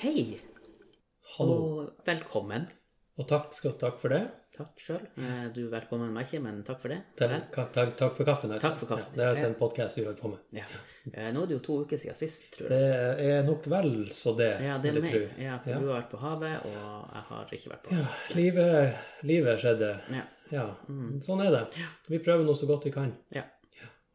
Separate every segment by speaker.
Speaker 1: Hei,
Speaker 2: Hallo.
Speaker 1: og velkommen.
Speaker 2: Og takk, skal, takk for det.
Speaker 1: Takk sjøl. Du velkommen meg ikke, men takk for det.
Speaker 2: Takk,
Speaker 1: Vel,
Speaker 2: ka- takk, takk for kaffen. altså.
Speaker 1: Takk for kaffen.
Speaker 2: Ja, det er altså en podkast vi holder på med.
Speaker 1: Ja. Eh, Nå er det jo to uker siden sist, tror jeg.
Speaker 2: Det er nok vel så det,
Speaker 1: Ja, det er
Speaker 2: vil jeg
Speaker 1: meg.
Speaker 2: tro.
Speaker 1: Ja, for
Speaker 2: Ja.
Speaker 1: du har vært på havet, og jeg har ikke vært på
Speaker 2: Ja, livet, livet skjedde.
Speaker 1: Ja.
Speaker 2: Ja,
Speaker 1: Mm.
Speaker 2: sånn er det. Vi prøver nå så godt vi kan.
Speaker 1: Ja.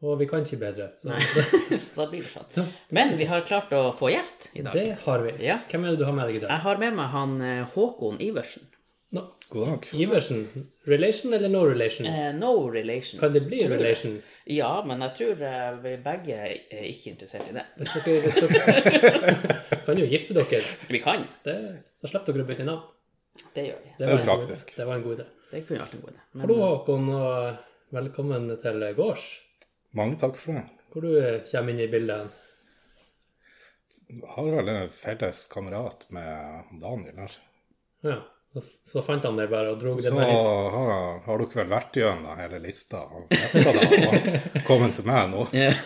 Speaker 2: Og vi kan ikke bedre. Så
Speaker 1: Nei. Så da blir det sånn. Men vi har klart å få gjest i dag.
Speaker 2: det har vi.
Speaker 1: Ja.
Speaker 2: Hvem er det du har med deg i dag?
Speaker 1: Jeg har med meg han eh, Håkon Iversen.
Speaker 2: Nå,
Speaker 3: God dag.
Speaker 2: Iversen. Relation eller no relation?
Speaker 1: Eh, No relation.
Speaker 2: Kan det bli
Speaker 1: Tror jeg.
Speaker 2: relation?
Speaker 1: Ja, men jeg tror eh, vi begge er ikke interessert i det.
Speaker 2: Hvis dere, hvis dere kan jo gifte dere.
Speaker 1: Vi kan.
Speaker 2: Det, da slipper dere å bytte navn.
Speaker 1: Det gjør vi.
Speaker 3: er
Speaker 2: var en god-
Speaker 3: praktisk.
Speaker 2: Det var en god idé.
Speaker 1: Det kunne vært en god idé. Men-
Speaker 2: Hallo, Håkon, og velkommen til gårds.
Speaker 3: Mange takk for det.
Speaker 2: Hvor du eh, kommer inn i bildet.
Speaker 3: Jeg har vel en felles kamerat med Daniel her.
Speaker 2: Ja, så, så fant han deg bare og drog
Speaker 3: Så
Speaker 2: deg med hit.
Speaker 3: har, har dere vel vært gjennom hele lista og lesta det og kommet til meg nå.
Speaker 1: Ja.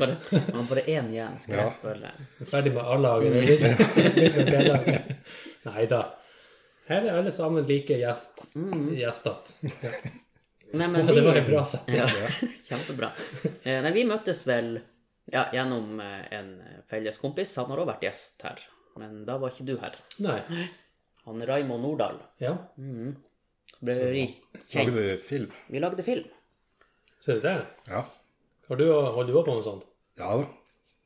Speaker 1: bare, man bare én igjen, skal
Speaker 3: Ja.
Speaker 1: jeg spørre.
Speaker 2: Ferdig med A-laget. det er litt- litt med B-laget. Neida. Her er alle sammen like gjest, gjestet. Ja.
Speaker 1: Nei, Mm. men
Speaker 2: Det var
Speaker 1: vi,
Speaker 2: en bra setning.
Speaker 1: ja, kjempebra. Eh, Nei, vi møttes vel ja, gjennom eh, en felles kompis. Han har òg vært gjest her, men da var ikke du her.
Speaker 2: Nei,
Speaker 1: Han Raymond Nordahl.
Speaker 2: ja.
Speaker 1: Mm. Ble vi
Speaker 3: Lager
Speaker 1: kjent.
Speaker 3: du film?
Speaker 1: Vi lagde film.
Speaker 2: Ser du det?
Speaker 3: Ja.
Speaker 2: Har du, holder du også på med sånt?
Speaker 3: Ja da,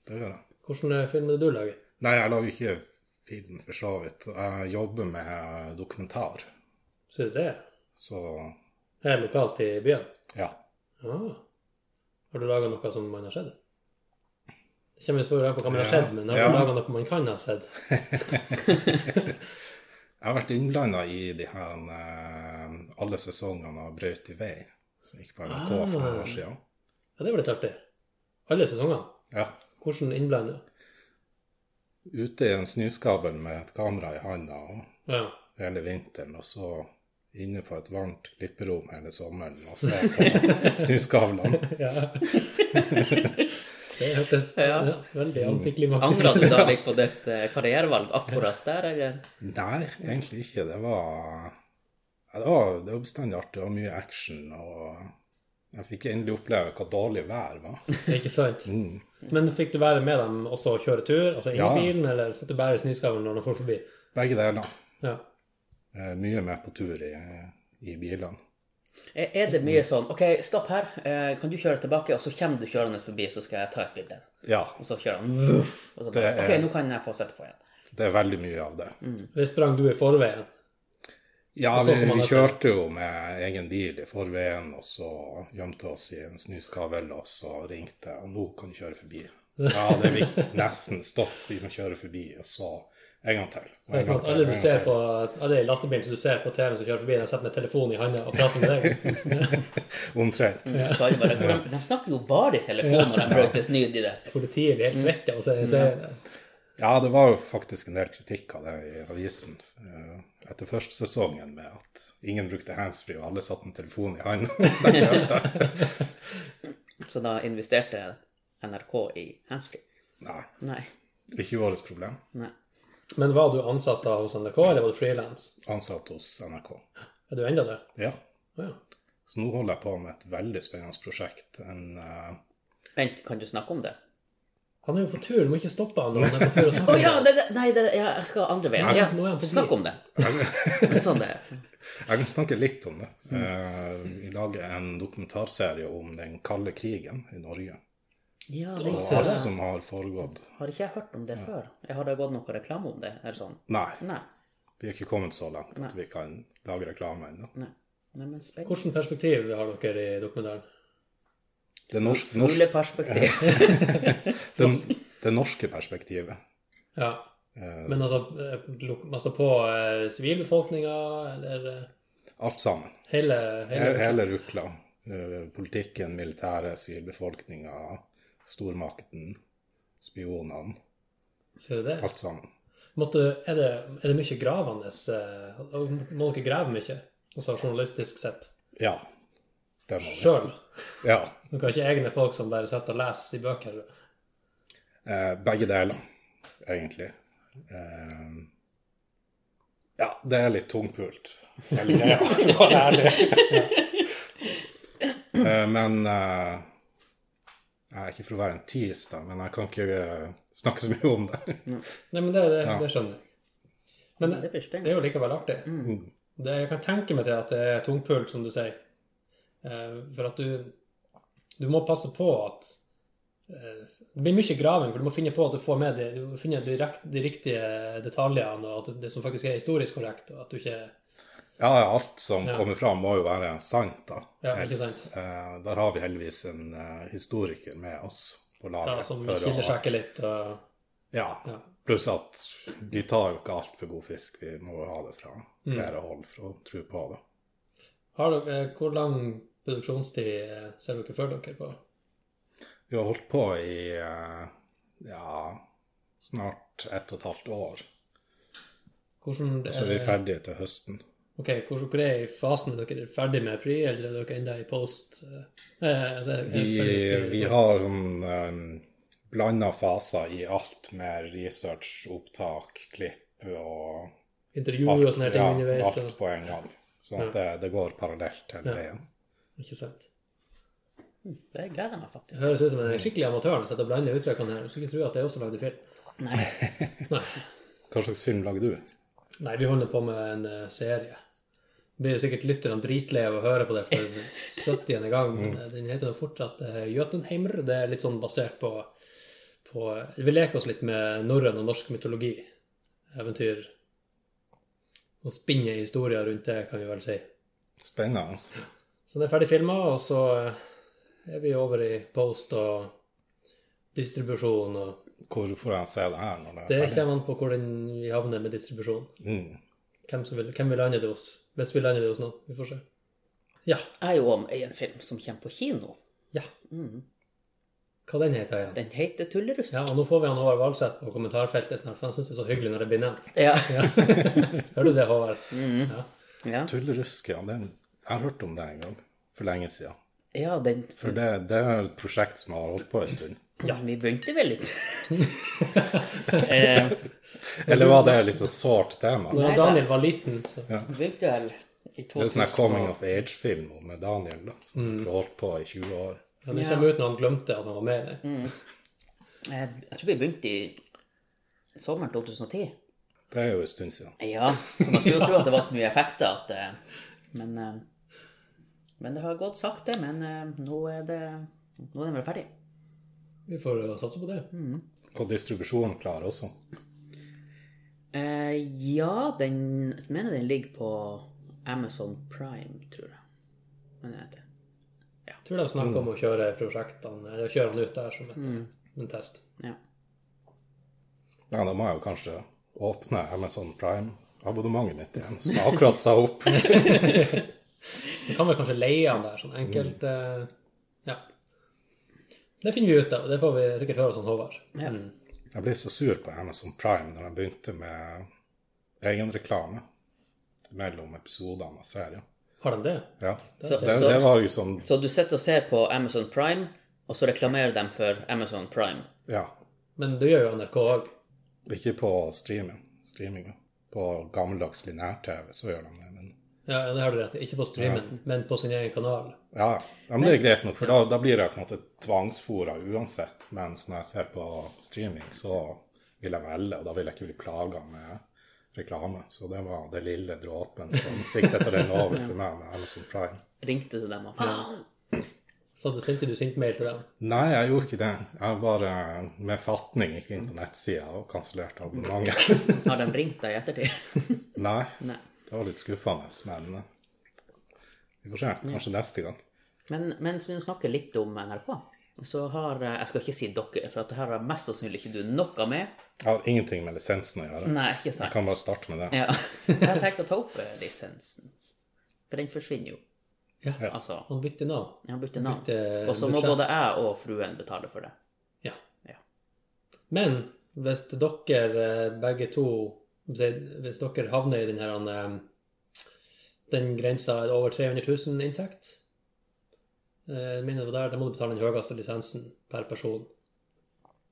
Speaker 3: det gjør jeg.
Speaker 2: Hvordan eh, film er det du lager?
Speaker 3: Nei, jeg lager ikke film for så vidt. Jeg jobber med dokumentar.
Speaker 2: Ser du det?
Speaker 3: Så
Speaker 2: Her lokalt i byen?
Speaker 3: ja.
Speaker 2: Ah. Har du laga noe som man har sett? Det kommer selvfølgelig an på hva man har
Speaker 3: Ja.
Speaker 2: sett, men har du
Speaker 3: Ja.
Speaker 2: laga noe man kan ha sett?
Speaker 3: Jeg har vært innblanda i de her eh, alle sesongene av Braut i vei, som gikk på NRK for noen år siden.
Speaker 2: Ja, det var litt artig. Alle sesongene.
Speaker 3: Ja.
Speaker 2: Hvordan innblanda?
Speaker 3: ute i en snøskavl med et kamera i handa og
Speaker 2: Ja.
Speaker 3: hele vinteren, og så inne på et varmt klipperom hele sommeren og se på snøskavlene.
Speaker 2: ja. det hørtes ja.
Speaker 1: Ja.
Speaker 2: veldig antiklimaktisk
Speaker 1: Angrer du da litt på ditt eh, karrierevalg akkurat der, eller?
Speaker 3: Nei, egentlig ikke. Det var ja, det var, det var bestandig artig. Det var mye action. og Jeg fikk endelig oppleve hva dårlig vær var.
Speaker 2: Ikke sant?
Speaker 3: Mm.
Speaker 2: Men fikk du være med dem også og kjøre tur? Altså inn i
Speaker 3: Ja.
Speaker 2: bilen, eller satt du bare i snøskavlen når de får forbi?
Speaker 3: Begge deler.
Speaker 2: Ja.
Speaker 3: Eh, Mye med på tur i, i bilene.
Speaker 1: Er er det mye sånn OK, stopp her. eh, Kan du kjøre tilbake? Og så kommer du kjørende forbi, så skal jeg ta et bilde.
Speaker 3: Ja,
Speaker 1: Og så kjører han vuff, og så bare,
Speaker 3: Det er-
Speaker 1: OK, nå kan jeg få sette på igjen.
Speaker 3: det er veldig mye av det.
Speaker 2: Det sprang du i forveien.
Speaker 3: Ja,
Speaker 2: Og så
Speaker 3: vi,
Speaker 2: kom han
Speaker 3: vi
Speaker 2: etter.
Speaker 3: kjørte jo med egen bil i forveien, og så gjemte oss i en snøskavel, og så ringte jeg, og nå kan du kjøre forbi. Ja, det er viktig. Nesten. Stopp, vi må kjøre forbi. Og så en gang til. og
Speaker 2: Det er
Speaker 3: en gang
Speaker 2: sånn at
Speaker 3: til,
Speaker 2: alle
Speaker 3: og
Speaker 2: du
Speaker 3: en
Speaker 2: ser
Speaker 3: gang
Speaker 2: på, alle i lastebilen som du ser på TV som kjører forbi, de sitter med telefonen i handa og prater med deg.
Speaker 3: til. Omtrent.
Speaker 1: Så alle bare, de, de snakker jo bare i telefonen når de brøyter snyd i det.
Speaker 2: Politiet blir helt svette og sier sier-
Speaker 3: Mm. Ja, det var jo faktisk en del kritikk av det i avisen eh, etter første sesongen, med at ingen brukte handsfree, og alle satt med telefonen i hånden.
Speaker 1: Så da investerte NRK i handsfree.
Speaker 3: Nei,
Speaker 1: Nei.
Speaker 3: ikke vårt problem.
Speaker 1: nei.
Speaker 2: Men var du ansatt da hos NRK, eller var du frilans?
Speaker 3: Ansatt hos NRK.
Speaker 2: Er du enda der?
Speaker 3: Ja.
Speaker 2: Å Ja.
Speaker 3: Så nå holder jeg på med et veldig spennende prosjekt. En, eh,
Speaker 1: Vent, kan du snakke om det?
Speaker 2: Han er jo på tur, du må ikke stoppe han når han er på tur og
Speaker 1: Å
Speaker 2: snakke.
Speaker 1: ja, det, det, nei, det, ja, jeg skal andre veien.
Speaker 2: Nei,
Speaker 1: Ja,
Speaker 2: nå er han på
Speaker 1: snakk
Speaker 2: fly.
Speaker 1: om det. Det er sånn det er.
Speaker 3: jeg kan snakke litt om det. Eh, vi lager en dokumentarserie om den kalde krigen i Norge.
Speaker 1: Ja,
Speaker 2: Å,
Speaker 1: det
Speaker 3: Og
Speaker 2: ser
Speaker 3: alt
Speaker 2: det. sånn.
Speaker 3: som har foregått.
Speaker 1: har ikke jeg hørt om det før. Jeg har det gått noe reklame om det? Eller sånn?
Speaker 3: Nei,
Speaker 1: Nei.
Speaker 3: vi er ikke kommet så langt at vi kan lage reklame ennå.
Speaker 1: nei. Nei, men spennende.
Speaker 2: Hvilket perspektiv har dere i dokumentaren?
Speaker 3: Det, norsk, norsk,
Speaker 1: Fugleperspektiv.
Speaker 3: det, det norske perspektivet.
Speaker 2: Ja,
Speaker 3: Eh,
Speaker 2: men altså, eh, lo- altså på eh, sivilbefolkninga, eller eh,
Speaker 3: alt sammen.
Speaker 2: hele,
Speaker 3: He-
Speaker 2: hele
Speaker 3: Hele rukla. Eh, politikken, militæret, sivilbefolkninga, stormakten, spionene.
Speaker 2: Ser du det?
Speaker 3: Alt sammen.
Speaker 2: Måtte, er, det, er det mye gravende? eh, Må dere grave mye? Altså journalistisk sett.
Speaker 3: Ja. Det må vi.
Speaker 2: Sjøl?
Speaker 3: Ja.
Speaker 2: Dere har ikke egne folk som bare sitter og leser i bøker?
Speaker 3: Eh, begge deler, egentlig. Eh, ja, det er litt tungpult. Eller, ja, for å være ærlig. Eh, men eh, jeg er ikke for å være en tis, da, men jeg kan ikke eh, snakke så mye om det.
Speaker 2: Nei, men det, det,
Speaker 3: Ja.
Speaker 2: det skjønner jeg. Men
Speaker 1: Det
Speaker 2: det,
Speaker 1: blir spennende.
Speaker 2: det er jo likevel artig.
Speaker 1: Mm.
Speaker 2: Det, jeg kan tenke meg til at det er tungpult, som du sier. Eh, for at du Du må passe på at eh, Det blir mye graving, for du må finne på at du får med de, du må finne de, rekt, de riktige detaljene, og at det som faktisk er historisk korrekt, og at du ikke
Speaker 3: Ja, ja, alt som
Speaker 2: Ja.
Speaker 3: kommer fram, må jo være sant, da.
Speaker 2: Ja, ikke
Speaker 3: helst.
Speaker 2: sant.
Speaker 3: Eh, der har vi heldigvis en eh, historiker med oss på
Speaker 2: ja,
Speaker 3: laget.
Speaker 2: som
Speaker 3: for å-
Speaker 2: kildesjekker litt. Og,
Speaker 3: Ja.
Speaker 2: Ja.
Speaker 3: Pluss at vi tar jo ikke altfor god fisk. Vi må jo ha det fra
Speaker 2: Mm.
Speaker 3: flere hold for å tro på det.
Speaker 2: har dere, eh, hvor lang produksjonstid eh, ser dere for dere på?
Speaker 3: Vi har holdt på i eh, ja, snart ett og et halvt år.
Speaker 2: Hvordan eh,
Speaker 3: Og så er vi ferdige til høsten.
Speaker 2: Ok, hvor hvor er i fasen? Er dere ferdig med pre, eller er dere enda i post? Eh, altså, er-
Speaker 3: Vi,
Speaker 2: er-
Speaker 3: vi har sånn blanda faser i alt med research, opptak, klipp og
Speaker 2: intervju og
Speaker 3: alt,
Speaker 2: sånne her ting
Speaker 3: ja,
Speaker 2: underveis.
Speaker 3: alt
Speaker 2: Og,
Speaker 3: på en gang. Sånn at det, det går parallelt hele
Speaker 2: Ja.
Speaker 3: veien.
Speaker 2: ikke sant?
Speaker 1: Det gleder jeg meg
Speaker 2: Det
Speaker 1: faktisk til.
Speaker 2: høres ut som en skikkelig amatør som sitter og blander uttrykkene her. Du skulle ikke tro at jeg også lagde film.
Speaker 1: Nei.
Speaker 3: Hva slags film lagde du?
Speaker 2: Nei, vi holder på med en eh, serie. Blir sikkert lytterne dritleie av å høre på det for den 70. gang.
Speaker 3: Mm.
Speaker 2: men, eh, Den heter jo fortsatt eh, Jotunheimer. Det er litt sånn basert på, på eh, Vi leker oss litt med norrøn og norsk mytologi. Eventyr. Og spinner historier rundt det, kan vi vel si.
Speaker 3: Spennende.
Speaker 2: Så det er ferdig filma, og så eh, er vi over i post og distribusjon og
Speaker 3: Hvor får jeg se det her når det
Speaker 2: Det
Speaker 3: er ferdig?
Speaker 2: kommer an på hvor den vi havner med distribusjon.
Speaker 3: Mm.
Speaker 2: Hvem, som vil, hvem vi lander det hos. Hvis vi lander det hos noen. Vi får se. Ja.
Speaker 1: Jeg er jo om i en film som kommer på kino.
Speaker 2: ja.
Speaker 1: Mm.
Speaker 2: Hva den heter igjen?
Speaker 1: Den heter Tullerusk.
Speaker 2: Ja, og nå får vi han Håvard Valseth på kommentarfeltet snart, for han syns det er så hyggelig når det blir nevnt.
Speaker 1: Ja.
Speaker 2: Ja. Hører du det, Håvard?
Speaker 1: Mm.
Speaker 2: Ja.
Speaker 1: ja.
Speaker 3: Tullerusk, ja. Den, jeg har hørt om det en gang for lenge siden.
Speaker 1: ja den
Speaker 3: For det, det er et prosjekt som har holdt på en stund.
Speaker 1: Ja, vi begynte vel litt. eh,
Speaker 3: Eller var det liksom et sårt tema?
Speaker 1: Mm.
Speaker 2: Når han Daniel var liten, så
Speaker 1: vi begynte vel i
Speaker 3: Det er sånn
Speaker 1: 2000
Speaker 3: her coming of age-film med Daniel, da. Som
Speaker 1: Mm.
Speaker 3: har holdt på i 20 år.
Speaker 2: Men det
Speaker 1: Ja.
Speaker 2: kommer ut når han glemte at han var med i det.
Speaker 1: eh, Jeg tror vi begynte i sommeren 2010.
Speaker 3: Det er jo en stund siden.
Speaker 1: Ja, man skulle jo tro at det var så mye effekter at eh, Men, eh, men det har gått sakte. Men eh, nå er det Nå er den vel ferdig.
Speaker 2: Vi får jo satse på det.
Speaker 3: Og distribusjonen klar også.
Speaker 1: Eh, ja, den jeg mener den ligger på Amazon Prime, tror jeg. Men jeg vet ikke.
Speaker 2: Tror de snakker om å kjøre prosjektene, eller kjøre han ut der som et, en test.
Speaker 1: Ja.
Speaker 3: Ja, da må jeg jo kanskje åpne Amazon Prime-abonnementet mitt igjen, som jeg akkurat sa opp.
Speaker 2: Du kan vel kanskje leie han der, sånn enkelt
Speaker 1: Mm.
Speaker 2: eh, Ja. Det finner vi ut av, og det får vi sikkert høre hos han Håvard.
Speaker 1: Ja.
Speaker 2: Mm.
Speaker 3: Jeg ble så sur på Amazon Prime når de begynte med egenreklame mellom episodene av serien.
Speaker 2: Har de det?
Speaker 3: Ja.
Speaker 1: Så,
Speaker 3: Det,
Speaker 1: så,
Speaker 3: det var liksom
Speaker 1: så du sitter og ser på Amazon Prime, og så reklamerer de for Amazon Prime.
Speaker 3: Ja.
Speaker 2: Men det gjør jo NRK òg.
Speaker 3: Ikke på streaming, streaminga. På gammeldags linær-TV så gjør de det. Men
Speaker 2: Ja, det har du rett i. Ikke på streamen, men på sin egen kanal.
Speaker 3: ja, ja, men det er greit nok, for da, da blir jeg på en måte tvangsfora uansett. Mens når jeg ser på streaming, så vil jeg velge, og da vil jeg ikke bli plaga med reklame. Så det var det lille dråpen som fikk det til å renne over for meg med Amazon Prime.
Speaker 1: Ringte du dem og faen?
Speaker 2: Så du sendte du sint-mail til dem.
Speaker 3: Nei, jeg gjorde ikke det. Jeg bare med fatning gikk inn på nettsida og kansellerte abonnementet.
Speaker 1: Har de ringt deg i ettertid?
Speaker 3: Nei,
Speaker 1: Nei.
Speaker 3: det var litt skuffende, men eh, vi får se. Kanskje neste gang.
Speaker 1: Men mens vi nå snakker litt om NRK, så har eh, Jeg skal ikke si dere, for at det her har mest sannsynlig ikke du noe med.
Speaker 3: Jeg har ingenting med lisensen å gjøre.
Speaker 1: Nei, ikke
Speaker 3: Jeg
Speaker 1: sant?
Speaker 3: kan bare starte med det.
Speaker 1: Ja. Jeg har tenkt å ta opp eh, lisensen, for den forsvinner jo.
Speaker 2: Ja.
Speaker 1: Altså,
Speaker 2: Han bytter navn. eh,
Speaker 1: jeg har byttet navn.
Speaker 2: Bytte
Speaker 1: Og så må
Speaker 2: budsjett.
Speaker 1: både jeg og fruen betale for det.
Speaker 2: Ja.
Speaker 1: Ja.
Speaker 2: Men hvis dere eh, begge to Hvis dere havner i den her eh, Den grensa er det over 300 000 inntekt. Eh, Jeg mener det var der, Da må du betale den høyeste lisensen per person.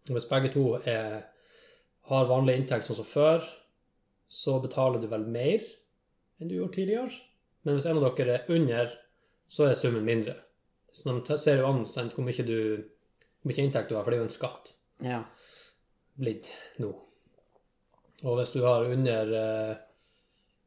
Speaker 2: Og Hvis begge to er har vanlig inntekt sånn som før, så betaler du vel mer enn du gjorde tidligere. Men hvis en av dere er under, så er summen mindre. Så de t- ser jo an sant, hvor mye, du, hvor mye inntekt du har, for det er jo en skatt
Speaker 1: Ja.
Speaker 2: blitt nå. Og hvis du har under eh,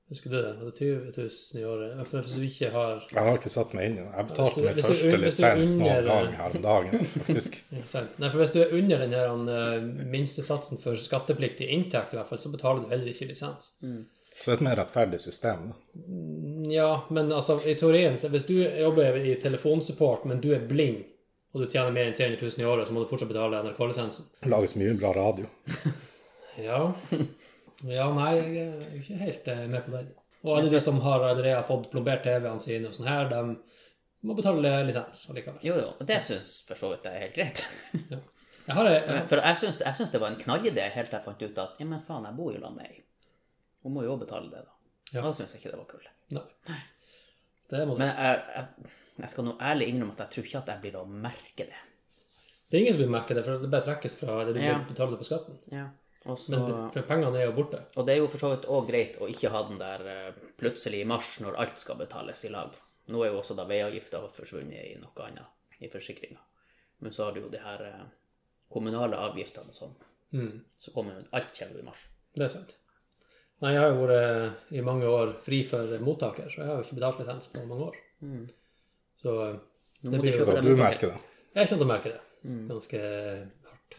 Speaker 2: Husker du det? Var det 20 000 i året? Hvis- Hvis du ikke har
Speaker 3: Jeg har ikke satt meg inn i det. Jeg
Speaker 2: Hvis du-
Speaker 3: betalte min
Speaker 2: hvis du-
Speaker 3: første
Speaker 2: hvis du
Speaker 3: lisens
Speaker 2: under-
Speaker 3: noen gang her om dagen, faktisk.
Speaker 2: Ikke sant? Nei, for Hvis du er under den her eh, minstesatsen for skattepliktig inntekt, i hvert fall, så betaler du heller ikke lisens.
Speaker 1: Mm.
Speaker 3: Så et mer rettferdig system. da.
Speaker 2: Mm, Ja, men altså, i teorien, så hvis du jobber i telefonsupport, men du er blind, og du tjener mer enn 300 000 i året, så må du fortsatt betale NRK-lisensen.
Speaker 3: Det lages mye bra radio.
Speaker 2: Ja. ja, nei, jeg er ikke helt eh, med på den. Og alle de som har allerede har fått plombert TV-ene sine og sånn her, de må betale lisens allikevel.
Speaker 1: Jo, jo, og det syns for så vidt jeg er helt greit.
Speaker 2: Jeg har eh,
Speaker 1: Men For jeg syns, jeg syns det var en knallidé helt til jeg fant ut at ja, men faen, jeg bor jo sammen med ei. Hun må jo også betale det, da.
Speaker 2: Ja.
Speaker 1: Da syns jeg ikke det var kult.
Speaker 2: Nei. Det må du.
Speaker 1: Men jeg, jeg, jeg skal nå ærlig innrømme at jeg tror ikke at jeg blir å merke det.
Speaker 2: Det er ingen som vil merke det, for det bare trekkes fra det du
Speaker 1: Ja.
Speaker 2: betaler på skatten.
Speaker 1: Og, så,
Speaker 2: Men det, for pengene er jo borte.
Speaker 1: og det er jo for så vidt òg greit å ikke ha den der eh, plutselig i mars når alt skal betales i lag. Nå er jo også da veiavgifta forsvunnet i noe annet, i forsikringa. Men så har du jo de her eh, kommunale avgiftene og sånn.
Speaker 2: Mm,
Speaker 1: Så kommer jo alt kommer jo i mars.
Speaker 2: det er sant. Nei, jeg har jo vært eh, i mange år fri for mottaker, så jeg har jo ikke betalt lisens på mange år.
Speaker 1: Mm.
Speaker 2: Så eh,
Speaker 1: Nå
Speaker 2: Det
Speaker 1: må
Speaker 2: blir
Speaker 1: du
Speaker 2: jo-
Speaker 1: kjøpe
Speaker 3: Så
Speaker 1: dem
Speaker 3: du
Speaker 1: ut av
Speaker 3: merker det.
Speaker 2: jeg kommer til å merke det
Speaker 1: Mm.
Speaker 2: ganske hardt.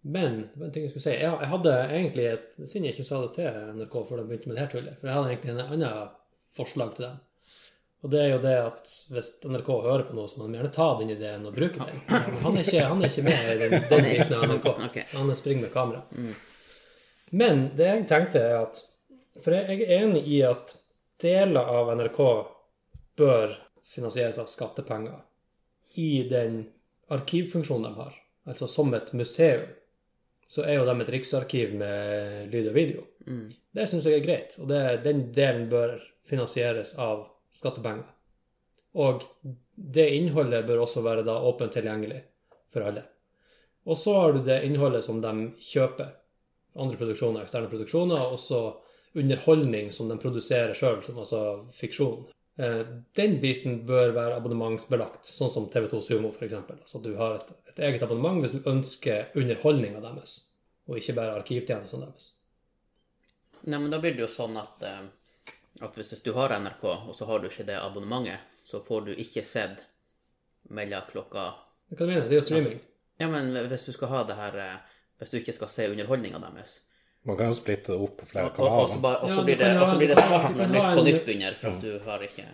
Speaker 2: Men det var en ting jeg skulle si. Jeg, jeg hadde egentlig et Siden jeg ikke sa det til NRK før de begynte med det her tullet, for jeg hadde egentlig en annen forslag til dem. Og det er jo det at hvis NRK hører på noe, så må de gjerne ta den ideen og bruke den. Han er ikke, han er ikke med i den, den biten av NRK.
Speaker 1: Ok.
Speaker 2: Han springer med kamera.
Speaker 1: Mm.
Speaker 2: Men det jeg tenkte er at For jeg er enig i at deler av NRK bør finansieres av skattepenger i den arkivfunksjonen de har. Altså som et museum så er jo de et riksarkiv med lyd og video.
Speaker 1: Mm.
Speaker 2: Det syns jeg er greit, og det, den delen bør finansieres av skattepenger. Og det innholdet bør også være da åpent tilgjengelig for alle. Og så har du det innholdet som de kjøper. Andre produksjoner, eksterne produksjoner, og også underholdning som de produserer sjøl, som altså fiksjon. Eh, Den biten bør være abonnementsbelagt, sånn som TV2 Sumo f.eks. Altså du har et, et eget abonnement hvis du ønsker underholdninga deres, og ikke bare arkivtjenestene deres.
Speaker 1: Nei, men da blir det jo sånn at, eh, at hvis hvis du har NRK, og så har du ikke det abonnementet, så får du ikke sett mellom klokka
Speaker 2: Hva du mener, det er jo streaming.
Speaker 1: Ja, men hvis du skal ha det her eh, Hvis du ikke skal se underholdninga deres,
Speaker 3: Man kan jo splitte det opp på flere
Speaker 1: og, og, og så
Speaker 3: kanaler.
Speaker 1: bare- og
Speaker 2: Ja,
Speaker 1: så
Speaker 2: du
Speaker 1: blir
Speaker 2: kan
Speaker 1: det,
Speaker 2: ha-
Speaker 1: og så blir det
Speaker 2: du kan-
Speaker 1: svart
Speaker 2: du
Speaker 1: med
Speaker 2: kan
Speaker 1: nytt
Speaker 2: ha
Speaker 1: på
Speaker 2: en-
Speaker 1: nytt under, for at du har ikke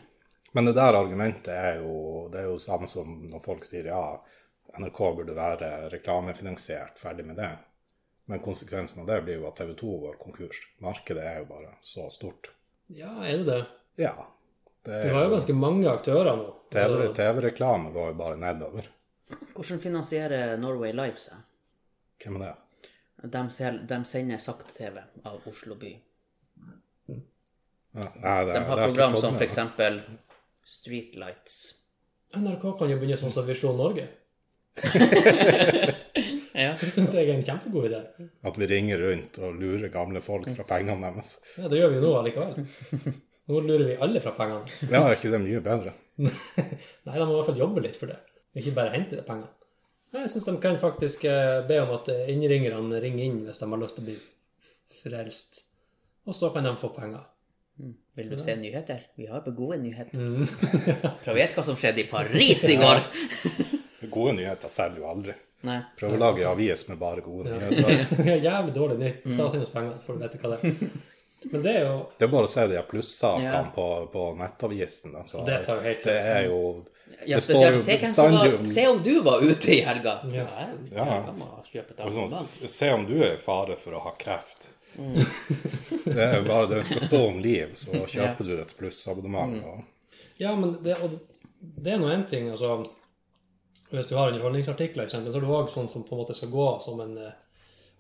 Speaker 3: Men det der argumentet er jo Det er jo samme som når folk sier ja, NRK burde være reklamefinansiert, ferdig med det. Men konsekvensen av det blir jo at TV 2 går konkurs. Markedet er jo bare så stort.
Speaker 2: Ja, er det det?
Speaker 3: Ja. Det
Speaker 2: Du
Speaker 3: er
Speaker 2: har jo
Speaker 3: jo-
Speaker 2: ganske mange aktører nå.
Speaker 3: TV TV-reklame går jo bare nedover.
Speaker 1: Hvordan finansierer Norway Life seg?
Speaker 3: Hvem er det?
Speaker 1: De, sel- de sender sakte-TV av Oslo by.
Speaker 3: Ja, nei, det,
Speaker 1: De
Speaker 3: det
Speaker 1: har
Speaker 3: jeg ikke sånn
Speaker 1: program
Speaker 3: fått
Speaker 1: som
Speaker 3: med
Speaker 1: f.eks.
Speaker 3: meg.
Speaker 1: Streetlights.
Speaker 2: NRK kan jo begynne sånn som Visjon Norge.
Speaker 1: Ja.
Speaker 2: Det syns jeg er en kjempegod idé.
Speaker 3: At vi ringer rundt og lurer gamle folk fra pengene deres.
Speaker 2: Ja, Det gjør vi jo nå allikevel. Nå lurer vi alle fra pengene.
Speaker 3: Ja, er ikke det mye bedre?
Speaker 2: Nei, de må i hvert fall jobbe litt for det. Ikke bare hente de pengene. Nei, Jeg syns de kan faktisk eh, be om at innringerne ringer inn hvis de har lyst til å bli frelst. Og så kan de få penger.
Speaker 1: Mm. Vil du se nyheter? Vi har gode nyheter.
Speaker 2: Mm.
Speaker 1: For jeg vet hva som skjedde i Paris i går!
Speaker 3: Gode nyheter selger jo aldri.
Speaker 1: Nei.
Speaker 3: Prøv å lage avis med bare gode
Speaker 2: Ja.
Speaker 3: nyheter.
Speaker 2: Jævlig dårlig nytt.
Speaker 3: Mm.
Speaker 2: Ta oss inn hos pengene, så får du vite hva det er. Men det er jo
Speaker 3: Det er bare å se de her plussakene
Speaker 1: Ja.
Speaker 3: på, på nettavisen. Da. Så
Speaker 2: Det tar jo helt
Speaker 3: det
Speaker 2: løs.
Speaker 3: er jo
Speaker 1: Ja,
Speaker 3: Det står
Speaker 1: spesielt,
Speaker 3: jo
Speaker 1: se, hvem som
Speaker 3: bestandig
Speaker 1: var,
Speaker 3: om-
Speaker 1: se om du var ute i helga!
Speaker 2: Ja.
Speaker 1: jeg er ute i
Speaker 3: Ja.
Speaker 1: helga, må kjøpe et
Speaker 3: og sånn,
Speaker 1: abonnement.
Speaker 3: s- Se om du er i fare for å ha kreft. Det er jo bare det skal stå om liv, så kjøper du et plussabonnement. Og...
Speaker 2: Ja, men det, og det er nå én ting, altså Hvis du har underholdningsartikler, eksempel, så er det òg sånn som på en måte skal gå som en eh,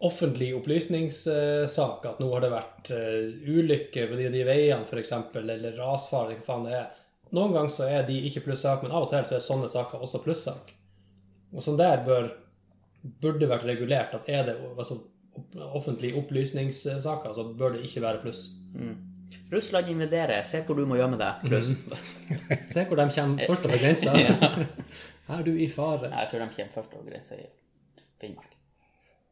Speaker 2: offentlig opplysningssak. At nå har det vært eh, ulykker på de og de veiene, f.eks., eller rasfare, eller hva faen det er. Noen ganger så er de ikke plussak, men av og til så er sånne saker også plussak. Og sånn der bør, burde vært regulert. at er det, altså, opp, offentlige opplysningssaker, så bør det ikke være pluss.
Speaker 1: Russland invaderer, se hvor du må gjemme deg,
Speaker 3: Mhm.
Speaker 1: pluss.
Speaker 2: Se hvor de kommer først over grensa. Er du i fare?
Speaker 1: Jeg tror de kommer først over grensa i Finnmark.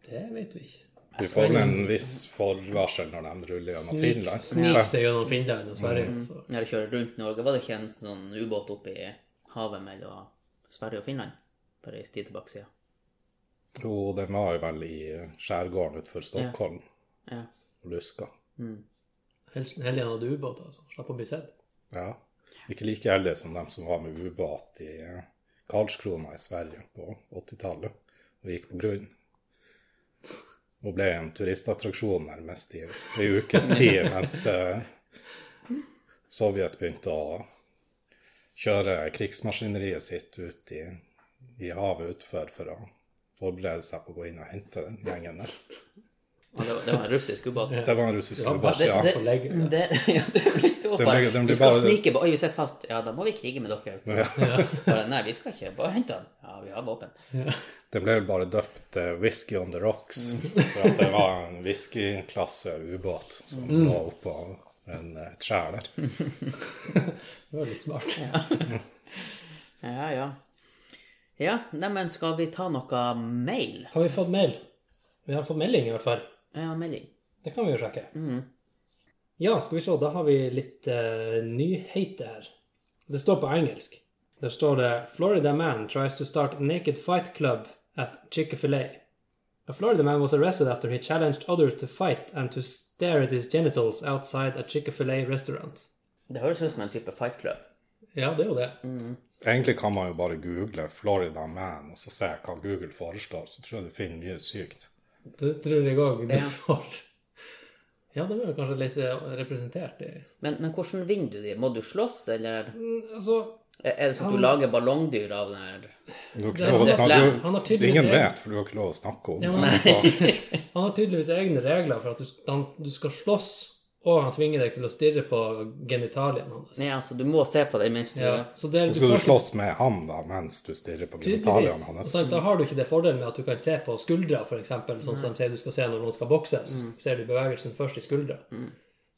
Speaker 2: Det vet vi ikke.
Speaker 3: Du får en viss forvarsel når de ruller gjennom
Speaker 2: Snik-
Speaker 3: Finland.
Speaker 2: Snik seg gjennom Finland og Sverige. Så.
Speaker 1: Når jeg kjører rundt Norge, var det ikke en sånn ubåt oppe i havet mellom Sverige og Finland for ei tid tilbake siden?
Speaker 3: Jo, den var jo vel i skjærgården utenfor Stockholm
Speaker 1: Ja.
Speaker 3: og luska.
Speaker 1: Mm.
Speaker 2: Helst heldig han hadde ubåt, altså. Slapp å bli sett.
Speaker 3: Ja. Ikke like heldige som dem som var med ubåt i eh, Karlskrona i Sverige på 80-tallet og gikk på grunn. Og ble en turistattraksjon nærmest i ei ukes tid mens eh, Sovjet begynte å kjøre krigsmaskineriet sitt ut i, i havet utenfor for å forberede seg på å gå inn og hente den gjengen der.
Speaker 1: Og det, var, det var en russisk ubåt.
Speaker 3: Det var en russisk
Speaker 2: Ja,
Speaker 3: ubåt,
Speaker 2: det-
Speaker 3: ja.
Speaker 2: får legge det.
Speaker 1: det, ja, det er litt
Speaker 3: ble-
Speaker 1: åpenbart.
Speaker 3: den ble
Speaker 1: Vi skal
Speaker 3: bare-
Speaker 1: snike på Oi, vi sitter fast. Ja, da må vi krige med dere.
Speaker 3: Ja.
Speaker 1: Bare, nei, vi skal ikke. Bare hent den. Ja, vi har våpen.
Speaker 3: Den ble vel bare døpt eh, 'Whisky on the Rocks',
Speaker 2: Mm.
Speaker 3: for at det var en whiskyklasse ubåt som
Speaker 2: Mm.
Speaker 3: lå oppå en, eh, et skjær der.
Speaker 2: Det var litt smart.
Speaker 1: Ja, ja. Ja, neimen, skal vi ta noe mail?
Speaker 2: Har vi fått mail? Vi har fått melding, i hvert fall.
Speaker 1: Ja, melding.
Speaker 2: Det kan vi jo sjekke.
Speaker 1: Mhm.
Speaker 2: Ja, skal vi se. Da har vi litt eh, nyheter her. Det står på engelsk. Der står det Florida man tries to start naked fight club at Chick-fil-A. A Florida man was arrested after he challenged others to fight and to stare at his genitals outside a Chick-fil-A restaurant.
Speaker 1: Det høres ut som en type fight club.
Speaker 2: Ja, det er jo det.
Speaker 3: Egentlig kan man jo bare google 'Florida Man' og så se hva Google foreslår, så tror jeg du finner mye sykt.
Speaker 2: Det tror jeg òg du
Speaker 1: Ja.
Speaker 2: får. Ja, det var jo kanskje litt eh, representert i
Speaker 1: Men, men hvordan vinner du de? Må du slåss, eller
Speaker 2: Mm, Altså,
Speaker 1: er er det sånn at du lager ballongdyr av den her
Speaker 3: Du har
Speaker 2: Det-
Speaker 3: ikke lov å
Speaker 2: det-
Speaker 3: snakke
Speaker 2: han har
Speaker 3: du-
Speaker 2: tydeligvis
Speaker 3: Ingen
Speaker 2: det.
Speaker 3: vet, for du har ikke lov å snakke om
Speaker 2: Ja, men-
Speaker 3: det.
Speaker 2: Han har tydeligvis egne regler for at du, han, du skal slåss, og han tvinger deg til å stirre på genitalien hans.
Speaker 1: Nei, altså, du må se på det mens du
Speaker 2: Ja, så det, du
Speaker 3: Så skal du
Speaker 2: får ikke-
Speaker 3: slåss med han da, mens du stirrer på
Speaker 2: Tydeligvis.
Speaker 3: genitaliene
Speaker 2: Og
Speaker 3: hans.
Speaker 2: sant, da har du ikke det fordelen med at du kan se på skuldra, f.eks., sånn som de sier du skal se når noen skal bokse. Så ser du bevegelsen først i skuldra.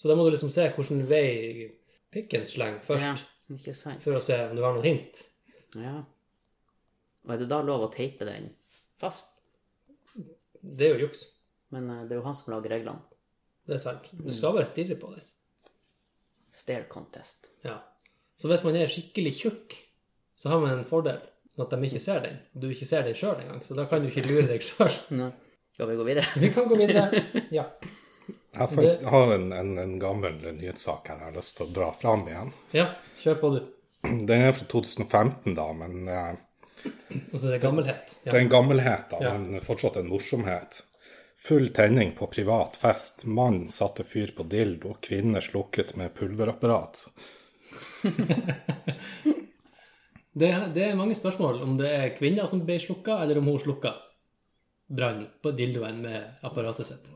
Speaker 2: Så da må du liksom se hvilken vei pikken
Speaker 1: Ja,
Speaker 2: slenger først,
Speaker 1: ikke sant.
Speaker 2: for å se om du har noen hint.
Speaker 1: Ja. Og er det da lov å teipe den fast?
Speaker 2: Det er jo juks.
Speaker 1: Men eh, det er jo han som lager reglene.
Speaker 2: Det er sant. Du skal bare stirre på den.
Speaker 1: Stare contest.
Speaker 2: Ja. Så hvis man er skikkelig tjukk, så har man en fordel. Sånn at de ikke ser den. Du ikke ser den sjøl engang, så da kan du ikke lure deg sjøl.
Speaker 1: Nei. Skal vi gå videre?
Speaker 2: Vi kan gå videre. Ja.
Speaker 3: Jeg har fun- har en, en, en gammel nyhetssak her jeg har lyst til å dra fram igjen.
Speaker 2: ja. Kjør på, du.
Speaker 3: Den er fra 2015, da, men eh,
Speaker 2: Og så er det gammelhet. Ja.
Speaker 3: Det er en gammelhet, da,
Speaker 2: Ja.
Speaker 3: men fortsatt en morsomhet. Full tenning på privat fest. Mann satte fyr på dildo. Kvinne slukket med pulverapparat.
Speaker 2: Det, er- det er mange spørsmål om det er kvinner som ble slukka, eller om hun slukka brannen på dildoen med apparatet sitt.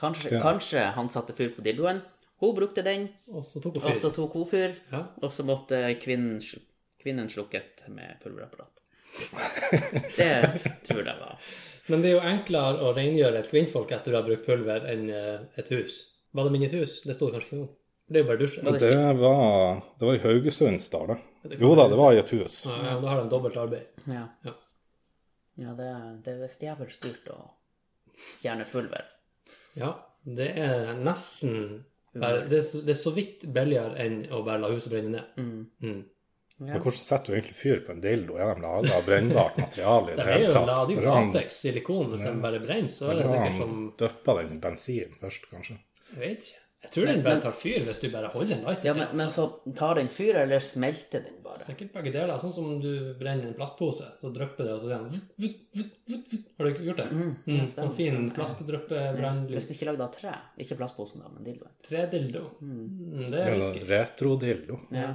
Speaker 1: Kanskje,
Speaker 3: Ja.
Speaker 1: kanskje han satte fyr på dildoen. Hun brukte den,
Speaker 2: Og så tok hun
Speaker 1: og så
Speaker 2: fyr.
Speaker 1: tok hun fyr.
Speaker 2: Ja.
Speaker 1: Og så måtte kvinnen, sl- kvinnen slukket med pulverapparat. Det tror jeg var
Speaker 2: Men det er jo enklere å rengjøre et kvinnfolk etter du har brukt pulver, enn eh, et hus. Var det minnet hus? Det sto det kanskje ikke om. Det er jo bare dusjen.
Speaker 1: Var
Speaker 2: Ja,
Speaker 1: det-
Speaker 3: Det var, det var i Haugesundsdal, det. Jo da, det var i et hus.
Speaker 2: ja, da har de dobbelt arbeid.
Speaker 1: Ja.
Speaker 2: Ja.
Speaker 1: Ja, det, det er visst jævlig dyrt å fjerne pulver.
Speaker 2: Ja, det er nesten bare, det, er, så- det er så vidt billigere enn å bare la huset brenne ned. Mm.
Speaker 1: Ja.
Speaker 3: Men hvordan setter du egentlig fyr på en dildo? Er de laga av brennbart materiale
Speaker 2: Det
Speaker 3: i det
Speaker 2: er
Speaker 3: hele
Speaker 2: jo
Speaker 3: tatt?
Speaker 2: la det er
Speaker 3: For
Speaker 2: jo
Speaker 3: han-
Speaker 2: latex, silikon, hvis den bare brenner, så er det
Speaker 3: eller
Speaker 2: sikkert
Speaker 3: han
Speaker 2: som
Speaker 3: døppa den i bensin først, kanskje.
Speaker 2: Jeg vet ikke. Jeg tror den bare tar fyr hvis du bare holder en lighter.
Speaker 1: Ja, men, men
Speaker 2: altså.
Speaker 1: så tar den fyr, eller smelter den bare?
Speaker 2: Sikkert begge deler. Sånn som du brenner en plastpose, så drypper det, og så sier den vutt, vutt, vutt, vutt, vutt. Har du ikke gjort det?
Speaker 1: Mm,
Speaker 2: Mm,
Speaker 1: ja, stemmer,
Speaker 2: sånn fin
Speaker 1: stemmer. Mm,
Speaker 2: plastdryppebrann.
Speaker 1: Hvis det ikke er lagd av tre. Ikke plastposen, da, men dildoen.
Speaker 2: Tredildo. Mm, det
Speaker 3: Det
Speaker 2: er
Speaker 3: er
Speaker 2: whisky.
Speaker 3: en Retrodildo.
Speaker 1: Ja.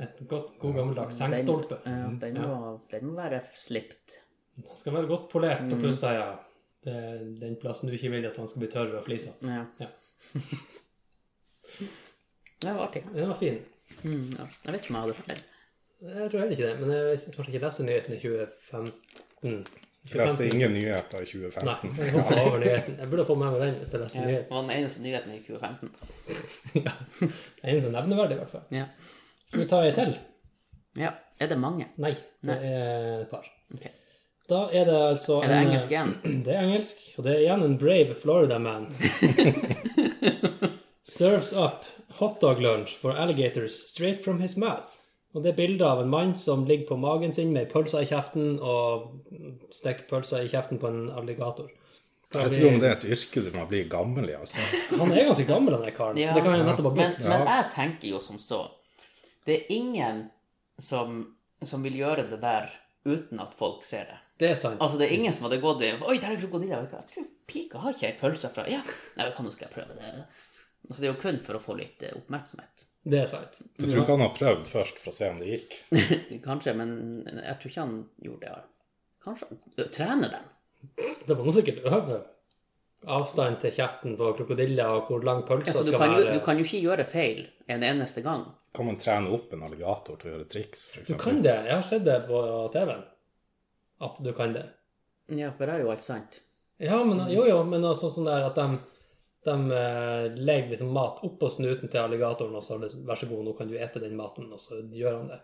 Speaker 2: Et godt, god gammeldags
Speaker 1: Den-
Speaker 2: sengstolpe.
Speaker 1: Ja, den, må, den må være slipt.
Speaker 2: Den skal være godt polert,
Speaker 1: Mm.
Speaker 2: og pluss sier jeg det er den plassen du ikke vil at han skal bli tørr og flisete.
Speaker 1: Ja.
Speaker 2: Ja.
Speaker 1: Det var artig.
Speaker 2: Den var fin.
Speaker 1: Mm, ja. Jeg vet ikke om jeg hadde hørt den.
Speaker 2: Jeg tror heller ikke det, men jeg vet ikke- kanskje ikke leser nyhetene i 2015.
Speaker 3: Leste ingen nyheter i 2015.
Speaker 2: Nei, jeg hoppa over nyheten. Jeg burde få med meg den hvis jeg
Speaker 1: Ja,
Speaker 2: leser
Speaker 1: det
Speaker 2: nyheten.
Speaker 1: var den eneste nyheten i 2015.
Speaker 2: Ja. Det eneste nevneverdig, i hvert fall.
Speaker 1: Ja.
Speaker 2: Skal vi ta ei til?
Speaker 1: ja. Er det mange?
Speaker 2: Nei, det
Speaker 1: Nei.
Speaker 2: er et par.
Speaker 1: Ok.
Speaker 2: Da er det altså
Speaker 1: Er det
Speaker 2: en-
Speaker 1: engelsk igjen?
Speaker 2: Det er engelsk, og det er igjen en brave Florida man. Serves up hotdog lunch for alligators straight from his mouth. Og det er bilder av en mann som ligger på magen sin med pølser i kjeften, og stikker pølser i kjeften på en alligator.
Speaker 3: Jeg tror om det er et yrke du må bli gammel i, altså.
Speaker 2: Han er ganske gammel, den der karen.
Speaker 1: Ja.
Speaker 2: Det kan jeg nettopp ha
Speaker 1: Men,
Speaker 2: begynt.
Speaker 1: men
Speaker 3: Ja.
Speaker 1: jeg tenker jo som så. Det er ingen som, som vil gjøre det der uten at folk ser det.
Speaker 2: Det er sant.
Speaker 1: Altså, det er ingen som hadde gått i Oi, der er krokodiller. vet du hva? Jeg tror pika har ikke ei pølse fra Ja, nei, kan du skal jeg prøve det? Altså, det er jo kun for å få litt eh, oppmerksomhet.
Speaker 2: Det er sant.
Speaker 3: Jeg tror ikke han har prøvd først for å se om det gikk.
Speaker 1: Kanskje, men jeg tror ikke han gjorde det. Kanskje han Trene dem?
Speaker 2: Det må man sikkert øve. Avstand til kjeften på krokodiller, og hvor lang pølsa
Speaker 1: Altså, du,
Speaker 2: skal
Speaker 1: kan jo,
Speaker 2: være.
Speaker 1: du kan jo ikke gjøre feil en eneste gang.
Speaker 3: Kan man trene opp en alligator til å gjøre triks, f.eks.?
Speaker 2: Du kan det. Jeg har sett det på TV-en. At du kan det.
Speaker 1: Ja, for det er jo alt sant.
Speaker 2: Ja, men,
Speaker 1: Mm.
Speaker 2: jo, jo, men også sånn der at de, de eh, legger liksom mat oppå snuten til alligatoren, og så liksom, vær så god, nå kan du ete den maten, og så gjør han det.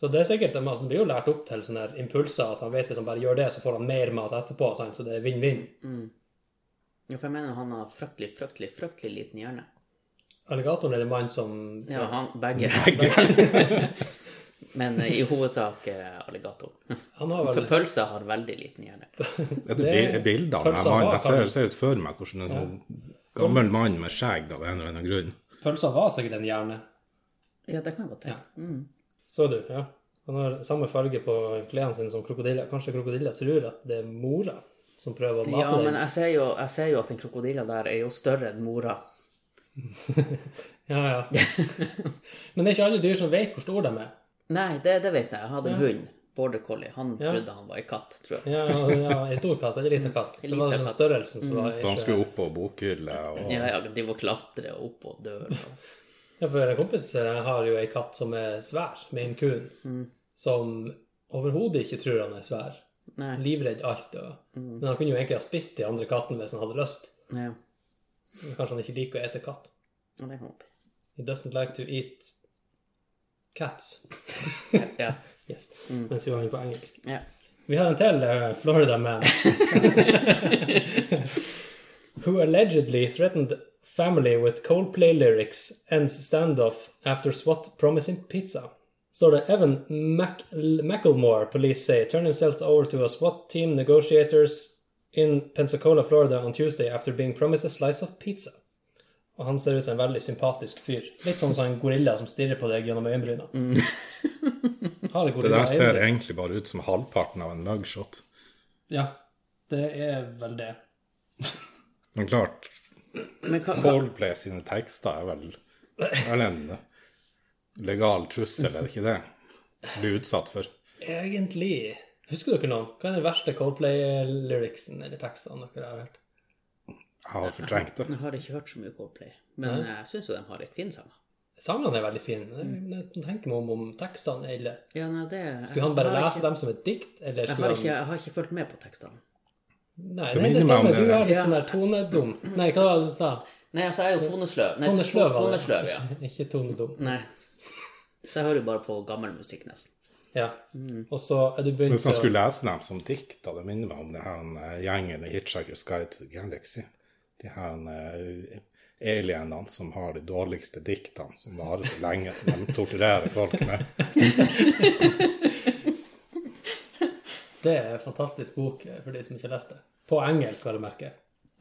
Speaker 2: Så det er sikkert, men altså, det blir jo lært opp til sånne her impulser, at han vet hvis han bare gjør det, så får han mer mat etterpå, sant? så det er vinn-vinn.
Speaker 1: Mm. Jo, for jeg mener han har fryktelig, fryktelig, fryktelig liten hjerne.
Speaker 2: Alligatoren er det mann som
Speaker 1: Ja, han, begge. Men eh, i hovedsak eh, alligator.
Speaker 2: Han har vel
Speaker 1: Pølser har veldig liten hjerne.
Speaker 3: Er det bil- er bilder av
Speaker 2: Pølsa
Speaker 3: den mannen?
Speaker 2: var-
Speaker 3: Jeg ser, ser ut for meg hvordan en sånn gammel mann med skjegg av en eller annen grunn
Speaker 2: Pølsa var sikkert en hjerne.
Speaker 1: Ja, det kan jeg godt tenke. Mm.
Speaker 2: Så du, ja. Han har samme farge på klærne sine som krokodiller. Kanskje krokodiller tror at det er mora som prøver å
Speaker 1: Ja,
Speaker 2: mate
Speaker 1: men
Speaker 2: den.
Speaker 1: jeg ser, jo, jeg ser jo at den krokodilla der er jo større enn mora.
Speaker 2: Ja, ja. men det er ikke alle dyr som vet hvor store de er.
Speaker 1: Nei, det, det vet jeg. Jeg hadde en
Speaker 2: Ja.
Speaker 1: hund. Border collie. Han
Speaker 2: Ja.
Speaker 1: trodde han var en katt, tror jeg.
Speaker 2: Ja, ja, ja, en stor katt eller en liten katt.
Speaker 1: En
Speaker 2: Det var
Speaker 1: liten
Speaker 2: den
Speaker 1: katt. Mm.
Speaker 2: størrelsen som var
Speaker 3: da han
Speaker 2: ikke...
Speaker 3: skulle opp på bokhylle og
Speaker 1: Ja, ja, de må klatre opp og dø. og-
Speaker 2: Ja, for en kompis eh, har jo en katt som er svær, med en kun,
Speaker 1: Mm.
Speaker 2: som overhodet ikke tror han er svær.
Speaker 1: Nei.
Speaker 2: Livredd alt. Og...
Speaker 1: Mm.
Speaker 2: Men han kunne jo egentlig ha spist de andre kattene hvis han hadde lyst.
Speaker 1: Ja,
Speaker 2: Men kanskje han ikke liker å ete katt.
Speaker 1: Ja, det kan godt.
Speaker 2: He doesn't like to eat cats.
Speaker 1: Ja.
Speaker 2: Yes.
Speaker 1: Mm.
Speaker 2: Mens vi var inne på engelsk.
Speaker 1: ja.
Speaker 2: Vi har en til eh, Florida man. Who allegedly threatened family with Coldplay lyrics ends standoff after SWAT promising pizza. Står det Evan Mac Macklemore, police say, turned himself over to a SWAT team negotiators in Pensacola, Florida on Tuesday after being promised a slice of pizza. Og han ser ut som en veldig sympatisk fyr. Litt sånn som en gorilla som stirrer på deg gjennom øyenbryna. Har en
Speaker 3: Det
Speaker 2: gorilla
Speaker 3: der ser
Speaker 2: øyenbryn?
Speaker 3: egentlig bare ut som halvparten av en mugshot.
Speaker 2: Ja, det er vel det.
Speaker 3: Men klart,
Speaker 1: Men hva, hva,
Speaker 3: Coldplay sine tekster er vel Eller en legal trussel, er det ikke det? Bli utsatt for.
Speaker 2: Egentlig Husker dere noen? Hva er den verste Coldplay-lyricsen eller tekstene dere har hørt?
Speaker 3: Jeg har fortrengt det.
Speaker 1: jeg har ikke hørt så mye Coldplay, men jeg syns jo de har litt fine sanger.
Speaker 2: Sangene er veldig fine. Jeg tenker meg om om tekstene er ille.
Speaker 1: Mm. Ja, nei, det, jeg-
Speaker 2: Skulle han bare
Speaker 1: jeg har
Speaker 2: lese
Speaker 1: ikke-
Speaker 2: dem som et dikt, eller
Speaker 1: Jeg har,
Speaker 2: skulle
Speaker 1: ikke,
Speaker 2: han
Speaker 1: jeg har ikke fulgt med på tekstene.
Speaker 2: Nei,
Speaker 3: Det
Speaker 2: nei, det
Speaker 3: minner meg om
Speaker 2: stemmer.
Speaker 3: det
Speaker 2: Du
Speaker 3: der.
Speaker 2: er litt
Speaker 1: Ja.
Speaker 2: sånn der tonedum. Nei, hva var det du sa?
Speaker 1: Nei, altså, jeg er jo tonesløv. Nei,
Speaker 2: Tonesløv, var det.
Speaker 1: tonesløv, ja.
Speaker 2: Ikke- Ikke tonedum.
Speaker 1: Nei. Så jeg hører jo bare på gammel musikk, nesten.
Speaker 2: Ja.
Speaker 1: Mm.
Speaker 2: Og så er du begynt
Speaker 3: Hvis han
Speaker 2: å
Speaker 3: skulle lese dem som dikt, da, det minner meg om det her eh, gjengen i Hitchhiker's Guide to the Galaxy. De her eh, alienene som har de dårligste diktene, som varer så lenge som de torturerer folk med.
Speaker 2: Det er en fantastisk bok eh, for de som ikke har lest det. På engelsk, vel å merke.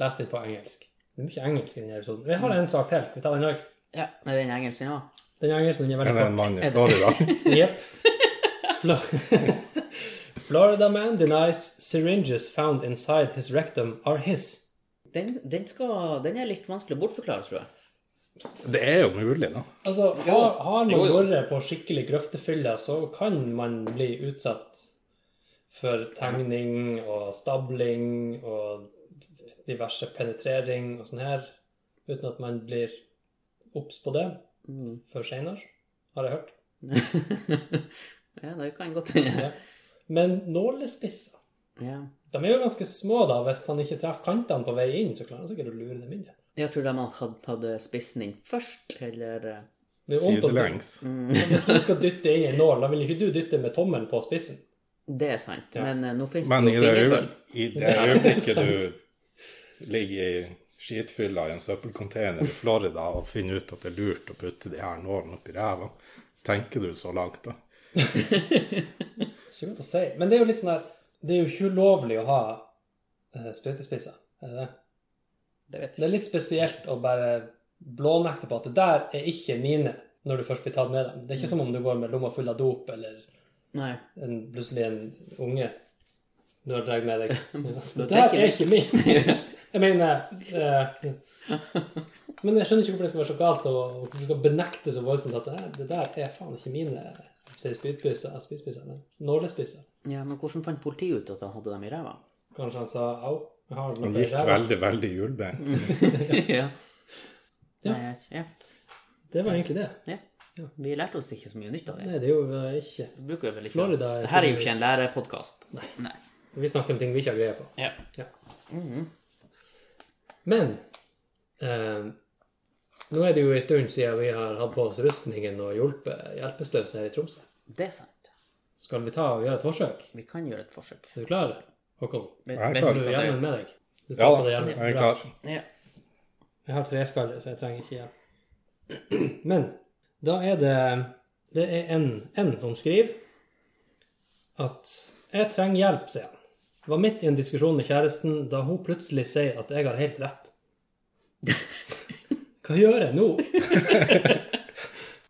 Speaker 2: Les den på engelsk. Det er mye engelsk i denne episoden. Vi har en sak til. Skal vi ta den òg?
Speaker 1: Ja, er den engelske, ja.
Speaker 2: Den engelsken den er
Speaker 3: Men
Speaker 2: veldig
Speaker 3: det er en
Speaker 2: kort.
Speaker 3: mann i Florida.
Speaker 2: Yep. Flo- Florida man denies syringes found inside his rectum are his.
Speaker 1: Den, den, skal, den er litt vanskelig å bortforklare, tror jeg.
Speaker 3: Det er jo mulig, da.
Speaker 2: Altså, har, har
Speaker 1: Jo, jo.
Speaker 2: man vært på skikkelig grøftefylla, så kan man bli utsatt for tegning og stabling og diverse penetrering og sånn her, uten at man blir obs på det
Speaker 1: Mm.
Speaker 2: før seinere, har jeg hørt.
Speaker 1: ja, det kan godt hende.
Speaker 2: Ja. Men nålespisser
Speaker 1: Ja.
Speaker 2: De er jo ganske små, da. Hvis han ikke treffer kantene på vei inn, så klarer han sikkert å lure dem inn igjen.
Speaker 1: Jeg tror de hadde, hadde spist den inn først, eller eh,
Speaker 2: Det er jo vondt å dytte.
Speaker 3: Sidelengs.
Speaker 1: mm,
Speaker 2: Men Hvis du skal dytte inn i en nål, da vil ikke du dytte med tommelen på spissen.
Speaker 1: Det er sant.
Speaker 2: Ja.
Speaker 1: Men eh, nå finnes det
Speaker 3: Men i
Speaker 1: jo
Speaker 3: det,
Speaker 1: fingerbøl.
Speaker 3: øye- i det øyeblikket du ligger i skitfylla i en søppelcontainer i Florida og finner ut at det er lurt å putte de her nålene oppi ræva, tenker du så langt da?
Speaker 2: Ikke godt å si. Men det er jo litt sånn der Det er jo ikke ulovlig å ha eh, sprøytespisser. Er det det?
Speaker 1: Det vet
Speaker 2: Det
Speaker 1: jeg.
Speaker 2: er litt spesielt å bare blånekte på at det der er ikke mine, når du først blir tatt med dem. Det er ikke som om du går med lomma full av dop, eller
Speaker 1: Nei.
Speaker 2: en, plutselig en unge du har dratt med deg.
Speaker 1: Det
Speaker 2: Det
Speaker 1: er
Speaker 2: der
Speaker 1: ikke
Speaker 2: er ikke min! Jeg mener eh, Men jeg skjønner ikke hvorfor det skal være så galt, og hvorfor du skal benekte så voldsomt at det, her- det der er faen ikke mine spydspisser, spydspisser, men nålespisser.
Speaker 1: Ja, men hvordan fant politiet ut at han hadde dem i ræva?
Speaker 2: Kanskje han sa au, jeg har
Speaker 3: Han
Speaker 2: noe i
Speaker 3: gikk
Speaker 2: ræva.
Speaker 3: veldig, veldig hjulbeint.
Speaker 1: ja.
Speaker 2: Ja.
Speaker 1: Nei, jeg- ja.
Speaker 2: Det var egentlig det.
Speaker 1: Vi lærte oss ikke så mye nytt av det.
Speaker 2: Nei, det er jo eh, ikke
Speaker 1: Vi bruker jo vel ikke
Speaker 2: Florida er
Speaker 1: Det her er jo ikke
Speaker 2: tydeligvis-
Speaker 1: en lærepodkast. Nei.
Speaker 2: Vi snakker om ting vi ikke har greie på.
Speaker 1: Ja.
Speaker 2: Ja.
Speaker 1: Mhm.
Speaker 2: Men eh, nå er det jo en stund siden vi har hatt på oss rustningen og hjulpet hjelpeløse her i Tromsø.
Speaker 1: Det er sant.
Speaker 2: Skal vi ta og gjøre et forsøk?
Speaker 1: Vi kan gjøre et forsøk.
Speaker 2: Er du klar, Håkon?
Speaker 1: Vet,
Speaker 3: Jeg er
Speaker 1: vet
Speaker 3: klar.
Speaker 1: du
Speaker 2: Har du
Speaker 1: hva det
Speaker 2: hjelmen
Speaker 1: er?
Speaker 2: med deg? Du
Speaker 3: Ja
Speaker 2: tar på
Speaker 3: da,
Speaker 2: deg
Speaker 3: jeg
Speaker 2: hjelmen.
Speaker 3: er
Speaker 2: Bra.
Speaker 3: klar.
Speaker 1: Ja.
Speaker 2: Jeg har treskalle, så jeg trenger ikke hjelm. Men da er det Det er en, en som skriver at jeg trenger hjelp, sier han. Var midt i en diskusjon med kjæresten da hun plutselig sier at jeg har helt rett. Hva gjør jeg nå?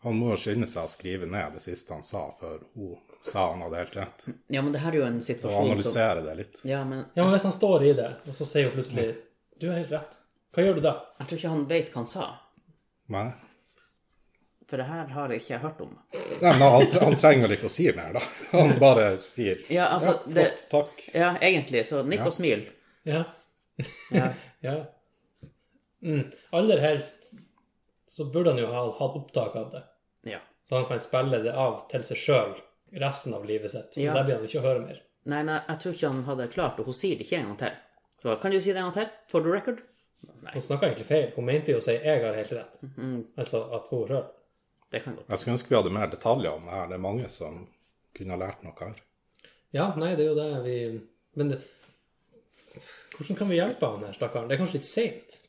Speaker 3: Han må jo skynde seg å skrive ned det siste han sa, for hun sa han hadde helt rett.
Speaker 1: ja, men det her er jo en
Speaker 3: Og
Speaker 1: situasjon som
Speaker 3: analysere det litt.
Speaker 1: Ja, men
Speaker 2: Ja, men Hvis han står i det, og så sier hun plutselig Du har helt rett. Hva gjør du da?
Speaker 1: jeg tror ikke han vet hva han sa.
Speaker 3: Nei,
Speaker 1: For det her har jeg ikke hørt om.
Speaker 3: Nei men han, han trenger vel ikke å si mer, da. Han bare sier
Speaker 1: Ja, altså,
Speaker 3: flott,
Speaker 1: det-
Speaker 3: takk.
Speaker 1: Ja, egentlig. Så nikk
Speaker 3: Ja.
Speaker 1: og smil.
Speaker 2: Ja.
Speaker 1: Ja.
Speaker 2: Ja. Mm. Aller helst så burde han jo ha hatt opptak av det,
Speaker 1: ja.
Speaker 2: så han kan spille det av til seg sjøl resten av livet sitt.
Speaker 1: Ja.
Speaker 2: Ja. Der blir han ikke å høre mer.
Speaker 1: Nei, men jeg tror ikke han hadde klart det. Hun sier det ikke en gang til. Så, bare, kan du si det en gang til? For the record? Nei.
Speaker 2: Hun snakka egentlig feil. Hun mente jo å si 'jeg har helt rett',
Speaker 1: Mm,
Speaker 2: altså at hun sjøl.
Speaker 1: det kan godt.
Speaker 3: Jeg skulle ønske vi hadde mer detaljer om det her. Det er mange som kunne ha lært noe her.
Speaker 2: Ja, nei, det er jo det vi Men det... hvordan kan vi hjelpe han her, stakkaren? Det er kanskje litt seint?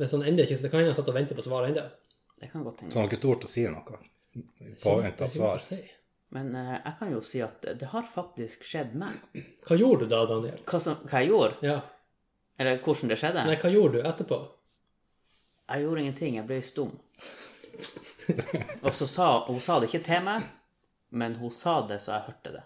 Speaker 2: Hvis han ennå ikke Det kan hende han satt og ventet på svar ennå.
Speaker 1: Det kan godt
Speaker 3: Så han
Speaker 1: hende.
Speaker 3: har ikke tort å si noe. I Påvente av svar.
Speaker 1: Men eh, jeg kan jo si at det har faktisk skjedd meg.
Speaker 2: Hva gjorde du da, Daniel?
Speaker 1: Hva, som, hva jeg gjorde?
Speaker 2: Ja.
Speaker 1: Eller hvordan det skjedde?
Speaker 2: Nei, hva gjorde du etterpå?
Speaker 1: Jeg gjorde ingenting, jeg ble stum. Og så sa hun sa det ikke til meg, men hun sa det så jeg hørte det.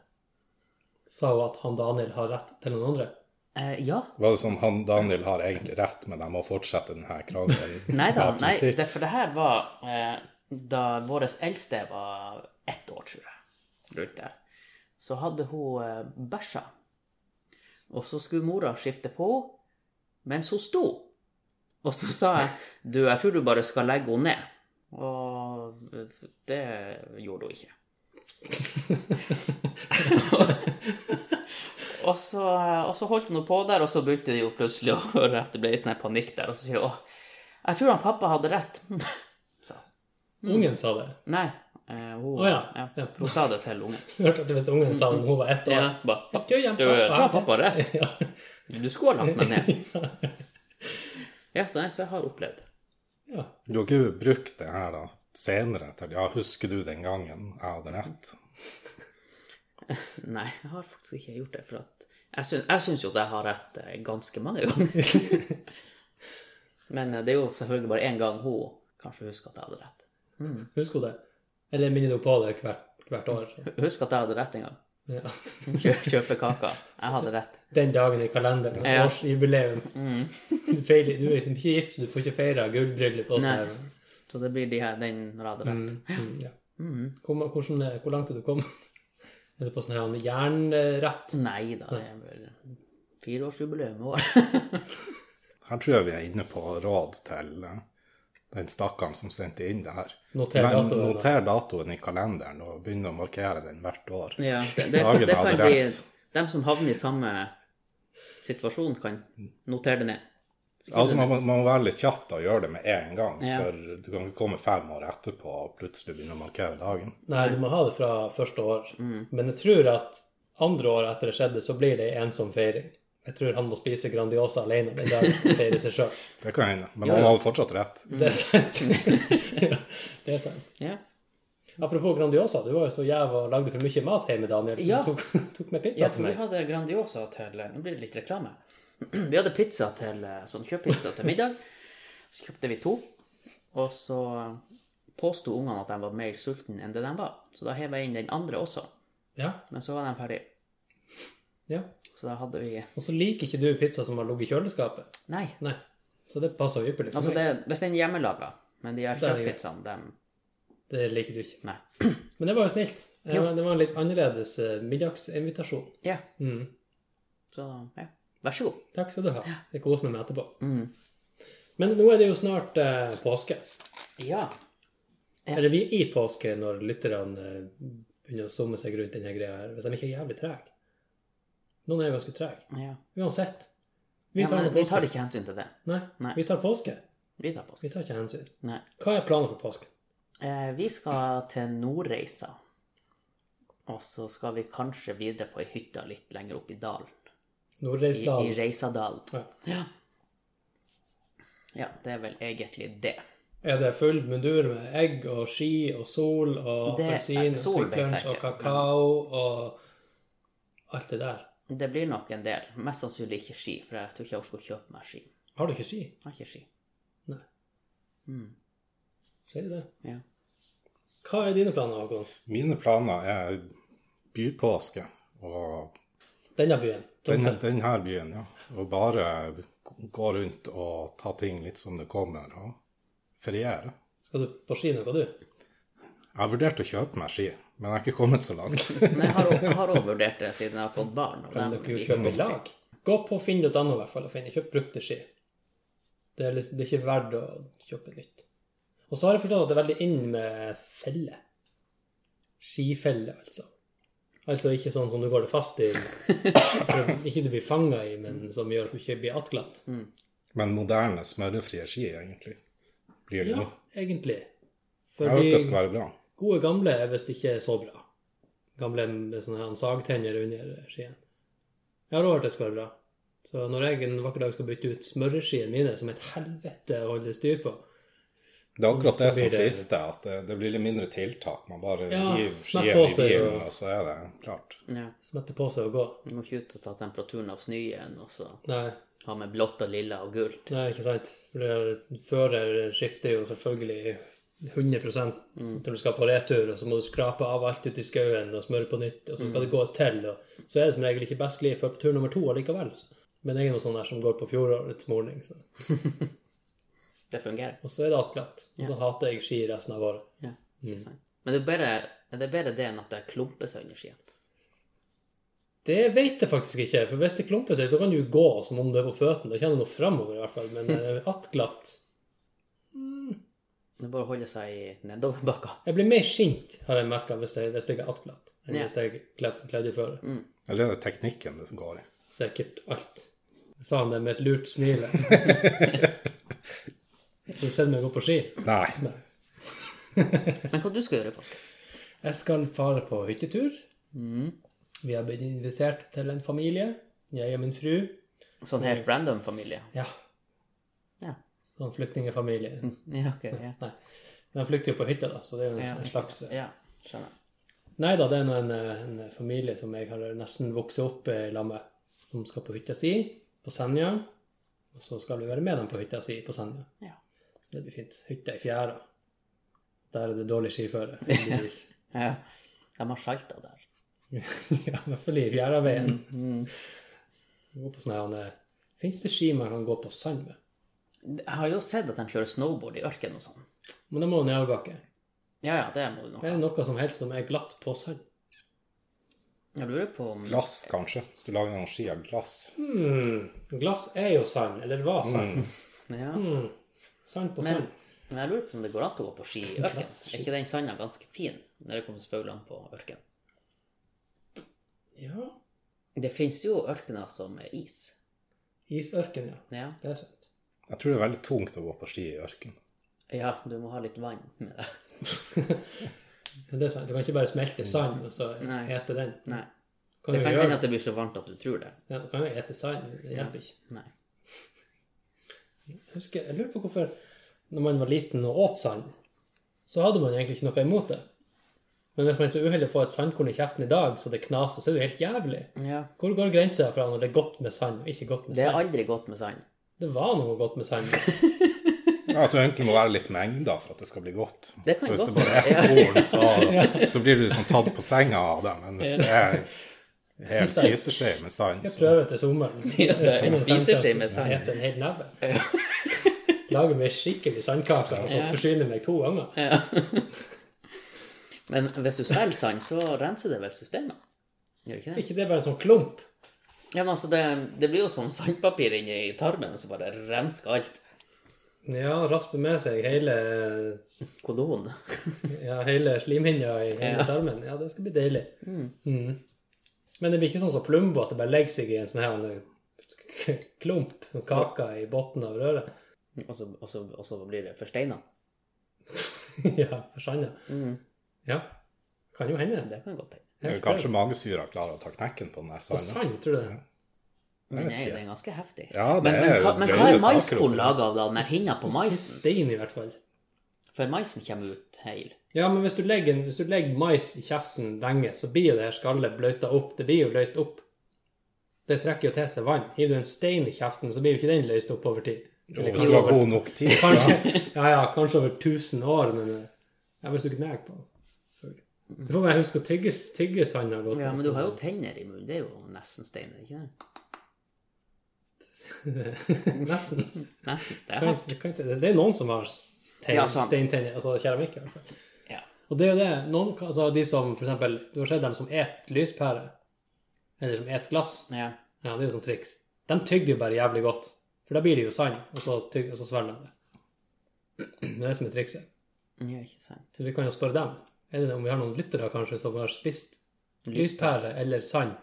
Speaker 2: sa hun at han Daniel har rett til noen andre.
Speaker 1: Eh, ja.
Speaker 3: Var det sånn han Daniel har egentlig rett, men de må fortsette denne krangelen?
Speaker 1: Nei da.
Speaker 3: av
Speaker 1: Nei,
Speaker 3: prinsipp?
Speaker 1: det, for det her var eh, da vår eldste var ett år, tror jeg, rundt der, så hadde hun eh, bæsja. Og så skulle mora skifte på henne mens hun sto. Og så sa jeg du, jeg tror du bare skal legge henne ned. Og det gjorde hun ikke. og, så, og så holdt hun på der, og så begynte de jo plutselig å høre at det ble en sånn her panikk der. Og så sier hun «Åh, jeg tror han pappa hadde rett. Så,
Speaker 2: Ungen sa det.
Speaker 1: nei, eh, hun,
Speaker 2: Å ja, ja.
Speaker 1: hun sa det til ungen.
Speaker 2: Hørte at hvis ungen sa det når hun var ett år
Speaker 1: Ja, bare, «Pappa,
Speaker 2: Du,
Speaker 1: du, jeg tror han pappa har rett.
Speaker 2: Ja.
Speaker 1: Du skulle ha lagt meg ned. Ja, så, nei, så jeg har opplevd det.
Speaker 2: ja.
Speaker 3: Du har ikke brukt det her da, senere til Ja, husker du den gangen jeg hadde rett?
Speaker 1: Nei, jeg har faktisk ikke gjort det. For at jeg, syns, jeg syns jo at jeg har rett eh, ganske mange ganger. Men eh, det er jo selvfølgelig bare én gang hun kanskje husker at jeg hadde rett.
Speaker 2: Husker hun det? Eller minner du på det hvert, hvert år?
Speaker 1: Husk at jeg hadde rett en gang.
Speaker 2: Ja.
Speaker 1: Kjø, kjøpe kaker. Jeg hadde rett.
Speaker 2: Den dagen i kalenderen,
Speaker 1: Ja.
Speaker 2: årsjubileum.
Speaker 1: Mm.
Speaker 2: Du, feiler, du er liksom ikke gift, så du får ikke feire gullbryllup og
Speaker 1: Nei.
Speaker 2: sånn. her.
Speaker 1: Så det blir de her, den når jeg hadde
Speaker 2: Mm,
Speaker 1: rett.
Speaker 2: mm, ja.
Speaker 1: Mm.
Speaker 2: Hvor, ma- hvordan, eh, hvor langt er du kommet? Er du på sånn her jernrett?
Speaker 1: Nei da, det er vel fireårsjubileum i år.
Speaker 3: Her tror jeg vi er inne på råd til eh, den stakkaren som sendte inn det her.
Speaker 2: Noter
Speaker 3: Men
Speaker 2: datoen. da.
Speaker 3: noter datoen i kalenderen og begynn å markere den hvert år.
Speaker 1: ja, det, det,
Speaker 3: Dagen
Speaker 1: det,
Speaker 3: jeg hadde
Speaker 1: kan de,
Speaker 3: rett.
Speaker 1: De som havner i samme situasjon, kan notere det ned. Skriv
Speaker 3: Altså,
Speaker 1: det
Speaker 3: man,
Speaker 1: ned.
Speaker 3: må- man må være litt kjapp da, og gjøre det med en gang.
Speaker 1: Ja.
Speaker 3: For du kan ikke komme fem år etterpå og plutselig begynne å markere dagen.
Speaker 2: Nei, du må ha det fra første år.
Speaker 1: Mm.
Speaker 2: Men jeg tror at andre år etter det skjedde, så blir det ensom feiring. Jeg tror han må spise Grandiosa alene den dagen og feire seg sjøl.
Speaker 3: Det kan hende. Men
Speaker 1: Ja, ja.
Speaker 3: han hadde fortsatt rett.
Speaker 1: Mm.
Speaker 2: Det er sant. det er sant.
Speaker 1: Ja.
Speaker 2: Apropos Grandiosa, du var jo så jæv og lagde for mye mat hjemme, Daniel, så
Speaker 1: Ja.
Speaker 2: du tok, tok med pizza
Speaker 1: Ja,
Speaker 2: til
Speaker 1: for vi
Speaker 2: meg.
Speaker 1: hadde Grandiosa til Nå blir det litt reklame. Vi hadde pizza til sånn kjøpepizza til middag. Så kjøpte vi to. Og så påsto ungene at de var mer sultne enn det de var. Så da hev jeg inn den andre også.
Speaker 2: Ja,
Speaker 1: Men så var de ferdige.
Speaker 2: ja.
Speaker 1: Så da hadde vi
Speaker 2: Og så liker ikke du pizza som har ligget i kjøleskapet.
Speaker 1: Nei.
Speaker 2: Nei. Så det passer jo ypperlig for
Speaker 1: Altså,
Speaker 2: meg.
Speaker 1: det, hvis den er hjemmelaga, men de her
Speaker 2: Da er det greit.
Speaker 1: kjøttpizzaene, de
Speaker 2: Det... liker du ikke.
Speaker 1: Nei.
Speaker 2: Men det var jo snilt. Eh,
Speaker 1: Jo.
Speaker 2: Det var en litt annerledes eh, middagsinvitasjon.
Speaker 1: Ja.
Speaker 2: Mm.
Speaker 1: Så ja, vær så god.
Speaker 2: Takk skal du ha. Jeg koser meg med etterpå.
Speaker 1: Mm.
Speaker 2: Men nå er det jo snart eh, påske.
Speaker 1: Ja. Ja.
Speaker 2: Eller vi er i påske når lytterne eh, begynner å summe seg rundt denne greia her. Hvis de ikke er jævlig trege. Noen er jo ganske trege.
Speaker 1: ja.
Speaker 2: Uansett. Vi
Speaker 1: ja
Speaker 2: tar,
Speaker 1: men
Speaker 2: nå
Speaker 1: vi
Speaker 2: påske.
Speaker 1: tar ikke hensyn til det.
Speaker 2: Nei,
Speaker 1: Nei.
Speaker 2: vi tar påske.
Speaker 1: Vi tar påske.
Speaker 2: Vi tar ikke hensyn.
Speaker 1: Nei.
Speaker 2: Hva er planen for påske?
Speaker 1: Eh, vi skal til Nordreisa. Og så skal vi kanskje videre på ei hytte litt lenger opp i dalen. I, i
Speaker 2: Nordreisdalen.
Speaker 1: Reisadalen.
Speaker 2: Ja.
Speaker 1: Ja. ja, det er vel egentlig det.
Speaker 2: Er det full mundur med egg og ski og sol og
Speaker 1: Det-
Speaker 2: appelsin
Speaker 1: eh, sol
Speaker 2: og
Speaker 1: vet jeg
Speaker 2: kvikklunsj og
Speaker 1: ikke, men-
Speaker 2: kakao og alt det der?
Speaker 1: Det blir nok en del. Mest sannsynlig ikke ski, for jeg tror ikke jeg orker å kjøpe meg ski.
Speaker 2: Har du ikke ski?
Speaker 1: Jeg har ikke ski.
Speaker 2: Nei.
Speaker 1: Mm,
Speaker 2: Sier du det?
Speaker 1: ja.
Speaker 2: Hva er dine planer, Håkon?
Speaker 3: Mine planer er bypåske og
Speaker 2: Denne byen?
Speaker 1: Sånn
Speaker 3: den,
Speaker 2: Tromsø?
Speaker 3: den her byen, ja. Og bare gå rundt og ta ting litt som det kommer, og feriere.
Speaker 2: Skal du på ski noe, du?
Speaker 3: Jeg har vurdert å kjøpe meg ski, men jeg har ikke kommet så langt.
Speaker 1: Men jeg har også- jeg har òg vurdert det siden jeg har fått barn. og
Speaker 2: Kan
Speaker 1: dem-
Speaker 2: dere jo
Speaker 1: vi-
Speaker 2: kjøpe i lag? Gå på finn.no i hvert fall og finn. Kjøp brukte ski. Det er, litt, det er ikke verdt å kjøpe nytt. Og så har jeg forstått at det er veldig inn med felle. Skifelle, altså. Altså ikke sånn som du går det fast i, for ikke du blir fanga i, men som gjør at du ikke blir attglatt.
Speaker 1: Mm.
Speaker 3: Men moderne, smørefrie ski, egentlig, blir det
Speaker 2: Ja,
Speaker 3: nå.
Speaker 2: egentlig.
Speaker 3: Jeg har hørt
Speaker 2: Fordi
Speaker 3: det skal være bra.
Speaker 2: gode gamle er visst ikke så bra. Gamle med sånne her sagtenner under skien. Jeg har også hørt det skal være bra. Så når jeg en vakker dag skal bytte ut smøreskiene mine, som et helvete å holde styr på
Speaker 3: Det er akkurat
Speaker 2: Så blir
Speaker 3: det som
Speaker 2: det-
Speaker 3: frister, at det, det blir litt mindre tiltak. Man bare
Speaker 2: Ja,
Speaker 3: hiver
Speaker 2: snakk
Speaker 3: skien
Speaker 2: på
Speaker 3: i
Speaker 2: seg,
Speaker 3: bilen,
Speaker 2: og-
Speaker 3: og så er det klart.
Speaker 1: Ja.
Speaker 2: Smette på seg og gå.
Speaker 1: Du må ikke ut og ta temperaturen av snøen, og så
Speaker 2: Nei,
Speaker 1: ha med blått og lilla og gult.
Speaker 2: nei ikke sant. For det- Fører skifter jo selvfølgelig 100 når du skal på retur, og så må du skrape av alt ute i skauen og smøre på nytt, og så skal det gås til. Og så er det som regel ikke best liv før på tur nummer to allikevel. Men jeg er noe sånn der som går på fjorårets morning. Så.
Speaker 1: Det fungerer.
Speaker 2: Og så er det attglatt. Og så hater jeg ski resten av året.
Speaker 1: Ja, ikke
Speaker 2: Mm.
Speaker 1: sant. Men det er, bedre, det er bedre det enn at det klumper seg under skia.
Speaker 2: Det vet jeg faktisk ikke, for hvis det klumper seg, så kan du jo gå som om du er på føttene. Da kjenner du noe framover i hvert fall, men eh, attglatt
Speaker 1: Det er bare å holde seg i nedoverbakka.
Speaker 2: Jeg blir mer sint, har jeg merka, hvis, det- hvis jeg er attglatt, enn
Speaker 1: Ja. Mm.
Speaker 2: hvis jeg er kledd kledd i føre.
Speaker 3: Eller er det teknikken det som går i?
Speaker 2: Sikkert alt. Jeg sa han det med et lurt smil. Har du sett meg gå på ski?
Speaker 3: Nei.
Speaker 1: Men hva du skal gjøre i påska?
Speaker 2: Jeg skal fare på hyttetur.
Speaker 1: Mm.
Speaker 2: Vi har blitt invitert til en familie. Jeg og min fru.
Speaker 1: Sånn helt random familie?
Speaker 2: Ja.
Speaker 1: Ja.
Speaker 2: Sånn flyktningfamilie.
Speaker 1: Ja, ok. Ja.
Speaker 2: Nei. De flykter jo på hytta, da, så det er jo en,
Speaker 1: Ja,
Speaker 2: en slags
Speaker 1: ja skjønner.
Speaker 2: Nei da, det er nå en, eh, en familie som jeg har nesten vokst opp i lag med, som skal på hytta si på Senja. Og så skal vi være med dem på hytta si på Senja.
Speaker 1: Ja.
Speaker 2: Så det blir fint. Hytta i fjæra. Der er det dårlig skiføre, heldigvis.
Speaker 1: Ja. De har salta der.
Speaker 2: ja, i hvert fall i Fjæraveien.
Speaker 1: Mm.
Speaker 2: Gå på sånne her, eh, Fins det ski man kan gå på sand med?
Speaker 1: mm. Jeg har jo sett at de kjører snowboard i ørkenen og sånn.
Speaker 2: Men det må jo nedoverbakke.
Speaker 1: Ja, ja, det må du nok
Speaker 2: Er
Speaker 1: ha.
Speaker 2: det noe som helst som er glatt på sand?
Speaker 1: Jeg lurer på om
Speaker 3: Glass, kanskje. Hvis du lager noen ski av glass.
Speaker 2: Hmm. Glass er jo sand, eller var sand.
Speaker 3: Mm.
Speaker 1: ja.
Speaker 2: Hmm. Sand på
Speaker 1: Men-
Speaker 2: sand.
Speaker 1: Men jeg lurer på om det går an å gå på ski i ørkenen.
Speaker 2: Glassski.
Speaker 1: Er ikke den sanda ganske fin når det kommer spøglene på ørkenen?
Speaker 2: Ja,
Speaker 1: Det finnes jo ørkener som er is.
Speaker 2: Isørken, ja.
Speaker 1: Ja.
Speaker 2: Det er sant.
Speaker 3: Jeg tror det er veldig tungt å gå på ski i ørken.
Speaker 1: ja, du må ha litt vann med deg.
Speaker 2: Ja, det er sant. Du kan ikke bare smelte sand og så
Speaker 1: Nei.
Speaker 2: ete den.
Speaker 1: Nei.
Speaker 2: Kan
Speaker 1: Det
Speaker 2: du
Speaker 1: kan
Speaker 2: gjøre-
Speaker 1: hende at det blir så varmt at du tror det.
Speaker 2: Ja, du kan jo ete sand, det hjelper ikke.
Speaker 1: Nei.
Speaker 2: Jeg, husker, jeg lurer på hvorfor når man var liten og åt sand, så hadde man egentlig ikke noe imot det. Men hvis man er så uheldig å få et sandkorn i kjeften i dag, så det knaser, så er det jo helt jævlig.
Speaker 1: Ja.
Speaker 2: Hvor går grensa fra når det er godt med sand og ikke godt med
Speaker 1: Det er
Speaker 2: sand?
Speaker 1: aldri godt med sand.
Speaker 2: Det var noe godt med sand.
Speaker 3: Ja, At det egentlig må være litt mengder for at det skal bli godt.
Speaker 1: Det kan
Speaker 3: For hvis
Speaker 1: godt
Speaker 3: det bare er ett horn, så, så blir du liksom tatt på senga av det. Men hvis det er en hel spiseskje med sand,
Speaker 2: Jeg
Speaker 3: så
Speaker 2: prøver til sommeren.
Speaker 1: Ja, det er en spiseskje med sand.
Speaker 2: Jeg spiser en hel neve. Lager meg skikkelig sandkaker og så
Speaker 1: Ja.
Speaker 2: forsyner meg to ganger.
Speaker 1: Ja. Men hvis du svelger sand, så renser det vel systemet? Gjør det ikke det?
Speaker 2: Ikke det er bare en sånn klump?
Speaker 1: Ja, men altså, det, det blir jo som sandpapir inni tarmen som bare rensker alt.
Speaker 2: Ja, rasper med seg hele,
Speaker 1: Kodon.
Speaker 2: ja, hele slimhinna i hele
Speaker 1: Ja.
Speaker 2: tarmen. Ja, det skal bli deilig. Mm. Men det blir ikke sånn som Plumbo, at det bare legger seg i en sånn her eh, klump, sånn kake i bunnen av røret.
Speaker 1: Og så, og, så, og så blir det forsteina.
Speaker 2: ja, forsanda.
Speaker 1: Mm.
Speaker 2: Ja, kan jo hende.
Speaker 1: Det kan godt hende.
Speaker 3: det er jo kanskje magesyra klarer å ta knekken på den
Speaker 2: På
Speaker 3: der sanden.
Speaker 2: sand, tror du det?
Speaker 1: Men
Speaker 3: vet
Speaker 1: nei,
Speaker 3: ikke.
Speaker 1: den er ganske heftig.
Speaker 3: Ja, det
Speaker 1: men, men,
Speaker 3: er
Speaker 1: hva, men hva er
Speaker 3: drøye saker altså.
Speaker 1: maiskorn
Speaker 3: oppi der.
Speaker 1: laga av, da? Den her hinna på maisen?
Speaker 2: Stein, i hvert fall.
Speaker 1: For maisen kommer ut heil.
Speaker 2: Ja, men hvis du, legger, hvis du legger mais i kjeften lenge, så blir jo det her skallet bløta opp. Det blir jo løst opp. Det trekker jo til seg vann. Gir du en stein i kjeften, så blir jo ikke den løst opp over tid.
Speaker 3: Og
Speaker 2: Eller
Speaker 3: hvis du har
Speaker 2: over-
Speaker 3: god nok tid, så
Speaker 2: kanskje, ja, ja, kanskje over 1000 år, men eh, ja, hvis du knekker på den. selvfølgelig. Du får bare huske å tygge, tygge sanda godt.
Speaker 1: Ja, men du har jo tenner i munnen. Det er jo nesten stein, er det ikke det?
Speaker 2: Nesten.
Speaker 1: Nesten. Det er
Speaker 2: Kan,
Speaker 1: hardt.
Speaker 2: kan, ikke- det er noen som har stein,
Speaker 1: Ja, sant.
Speaker 2: steintenner, altså keramikk i hvert fall.
Speaker 1: Ja.
Speaker 2: Og det er jo det. Noen, altså de som for eksempel, Du har sett dem som et lyspære, eller som et glass.
Speaker 1: ja.
Speaker 2: Ja, det er jo sånn triks. De tygger jo bare jævlig godt. For da blir det jo sand, og så, tygg- og så svelger de det. Men det er det som er trikset.
Speaker 1: ja, ikke sant.
Speaker 2: Så vi kan jo spørre dem. Eller om vi har noen lyttere kanskje som har spist lyspære eller sand.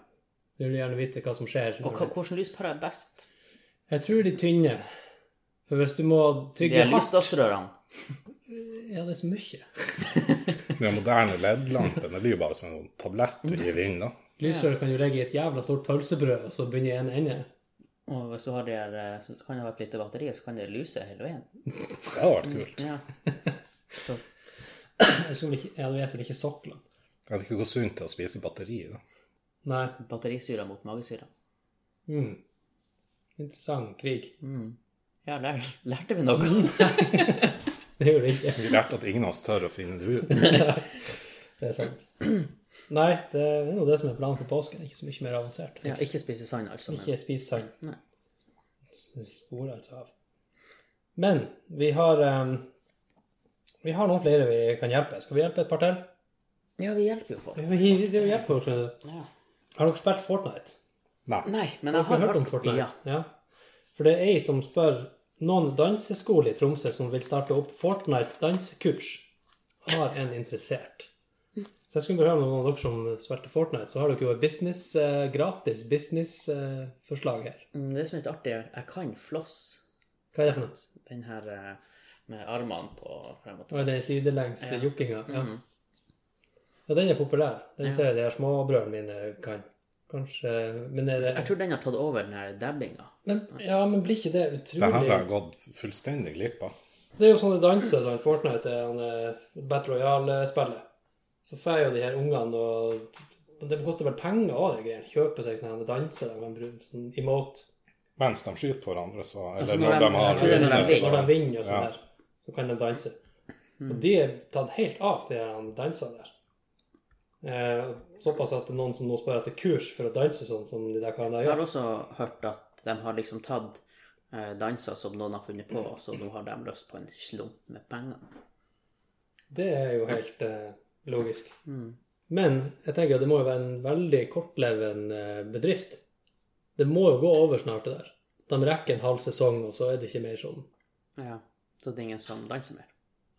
Speaker 2: Vi vil gjerne vite hva som skjer.
Speaker 1: Og hva- hvordan lyspære er best?
Speaker 2: Jeg tror de tynne. For hvis du må
Speaker 1: De
Speaker 2: tygge
Speaker 1: er
Speaker 2: hardt
Speaker 1: lysstoffrørene.
Speaker 2: Ja, det er så mye.
Speaker 3: Den moderne LED-lampen det blir jo bare som en tablett du hiver inn, da.
Speaker 2: Lysrør kan jo ligge i et jævla stort pølsebrød, og så begynne i en ende.
Speaker 1: Og hvis du har de her, eh, så kan det ha et lite batteri, så kan det lyse hele veien.
Speaker 3: Det hadde vært kult.
Speaker 1: Ja. Så,
Speaker 2: Jeg tror vel ikke, jeg vet vel ikke Sokkland.
Speaker 3: Jeg vet ikke hvor sunt det er å spise batteri, da.
Speaker 2: Nei.
Speaker 1: batterisyra mot magesyra.
Speaker 2: Mm. Interessant krig.
Speaker 1: Mm. Ja, lær, lærte vi noe?
Speaker 2: Det gjør det ikke.
Speaker 3: Vi lærte at ingen av oss tør å finne det ut.
Speaker 2: Det er sant. Nei, det er jo det som er planen for påsken. Ikke så mye mer avansert.
Speaker 1: Ja, ikke spise sand, altså. Men.
Speaker 2: Ikke spis sand.
Speaker 1: Nei.
Speaker 2: Vi sporer altså av. Men vi har eh, Vi har noen flere vi kan hjelpe. Skal vi hjelpe et par til?
Speaker 1: Ja, det hjelper jo folk.
Speaker 2: Vi, vi, vi hjelper, jo, skjønner du.
Speaker 1: Ja.
Speaker 2: har dere spilt Fortnite?
Speaker 3: Nei.
Speaker 1: Nei, men jeg
Speaker 2: Dere
Speaker 1: har
Speaker 2: har hørt om Fortnite?
Speaker 1: Ja.
Speaker 2: For det er ei som spør noen danseskole i Tromsø som vil starte opp Fortnite dansekurs. Har en interessert. Så jeg skulle bare høre med noen av dere som spilte Fortnite, så har dere jo et business, eh, gratis businessforslag her.
Speaker 1: Mm, Det som er litt artig, er jeg kan floss
Speaker 2: Hva er det for noe?
Speaker 1: den her eh, med armene på frem og tilbake.
Speaker 2: Og det er sidelengs
Speaker 1: Ja.
Speaker 2: jukkinga. Ja.
Speaker 1: Mhm.
Speaker 2: ja, den er populær. Den
Speaker 1: Ja.
Speaker 2: ser jeg de her småbrødrene mine kan. Kanskje Men er det
Speaker 1: Jeg tror den har tatt over den her dabbinga.
Speaker 2: men, Ja, men blir ikke det utrolig
Speaker 3: Det her har jeg gått fullstendig glipp av.
Speaker 2: Det er jo sånne danser sånn Fortnite er han, eh, Battle Royale-spillet. Så får jo de her ungene og men Det koster vel penger òg, de greiene. Kjøpe seg sånne her danser de kan bruke sånn emote.
Speaker 3: Mens de skyter på hverandre, så
Speaker 1: Altså,
Speaker 3: Eller
Speaker 1: når
Speaker 3: når
Speaker 1: de- jeg
Speaker 3: de har
Speaker 1: tror det er når de
Speaker 3: vunnet,
Speaker 1: vinner.
Speaker 2: Når de vinner og sånn
Speaker 3: Ja.
Speaker 2: her, så kan de danse.
Speaker 1: Mm.
Speaker 2: Og de er tatt helt av, de her dansene der. Eh, såpass at det er noen som nå spør etter kurs for å danse sånn som de der karene der
Speaker 1: Jeg har
Speaker 2: gjør.
Speaker 1: også hørt at de har liksom tatt eh, danser som noen har funnet på, så nå har de lyst på en slump med penger.
Speaker 2: Det er jo helt eh, logisk.
Speaker 1: Mm.
Speaker 2: Men jeg tenker at det må jo være en veldig kortlevende eh, bedrift. Det må jo gå over snart, det der. De rekker en halv sesong, og så er det ikke mer sånn.
Speaker 1: Ja. Så det er ingen som danser mer.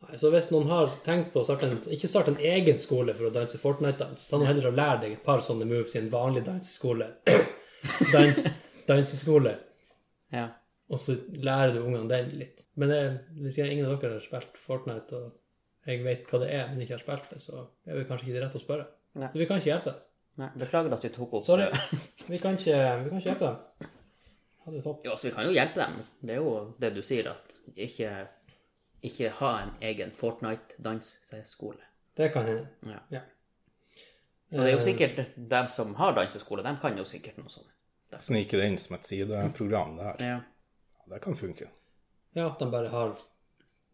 Speaker 2: Nei, så hvis noen har tenkt på å starte en, ikke starte en egen skole for å danse Fortnite-dans, ta nå heller og lær deg et par sånne moves i en vanlig danseskole. Dans, danseskole.
Speaker 1: Ja.
Speaker 2: Og så lærer du ungene den litt. Men det, hvis jeg, ingen av dere har spilt Fortnite, og jeg vet hva det er, men ikke har spilt det, så er vi kanskje ikke de rette å spørre.
Speaker 1: Nei.
Speaker 2: Så vi kan ikke hjelpe deg.
Speaker 1: Nei, beklager at vi tok opp
Speaker 2: Sorry. Vi kan ikke, vi kan ikke hjelpe deg. Ha det topp.
Speaker 1: Jo, altså, vi kan jo hjelpe dem. Det er jo det du sier, at ikke, ikke ha en egen Fortnite-danseskole.
Speaker 2: Det kan hende. Eh,
Speaker 1: Ja. Og det er jo sikkert dem som har danseskole, de kan jo sikkert noe sånt.
Speaker 3: Snike det inn som et sideprogram, det her.
Speaker 1: Ja.
Speaker 3: Det kan funke.
Speaker 2: Ja, at de bare har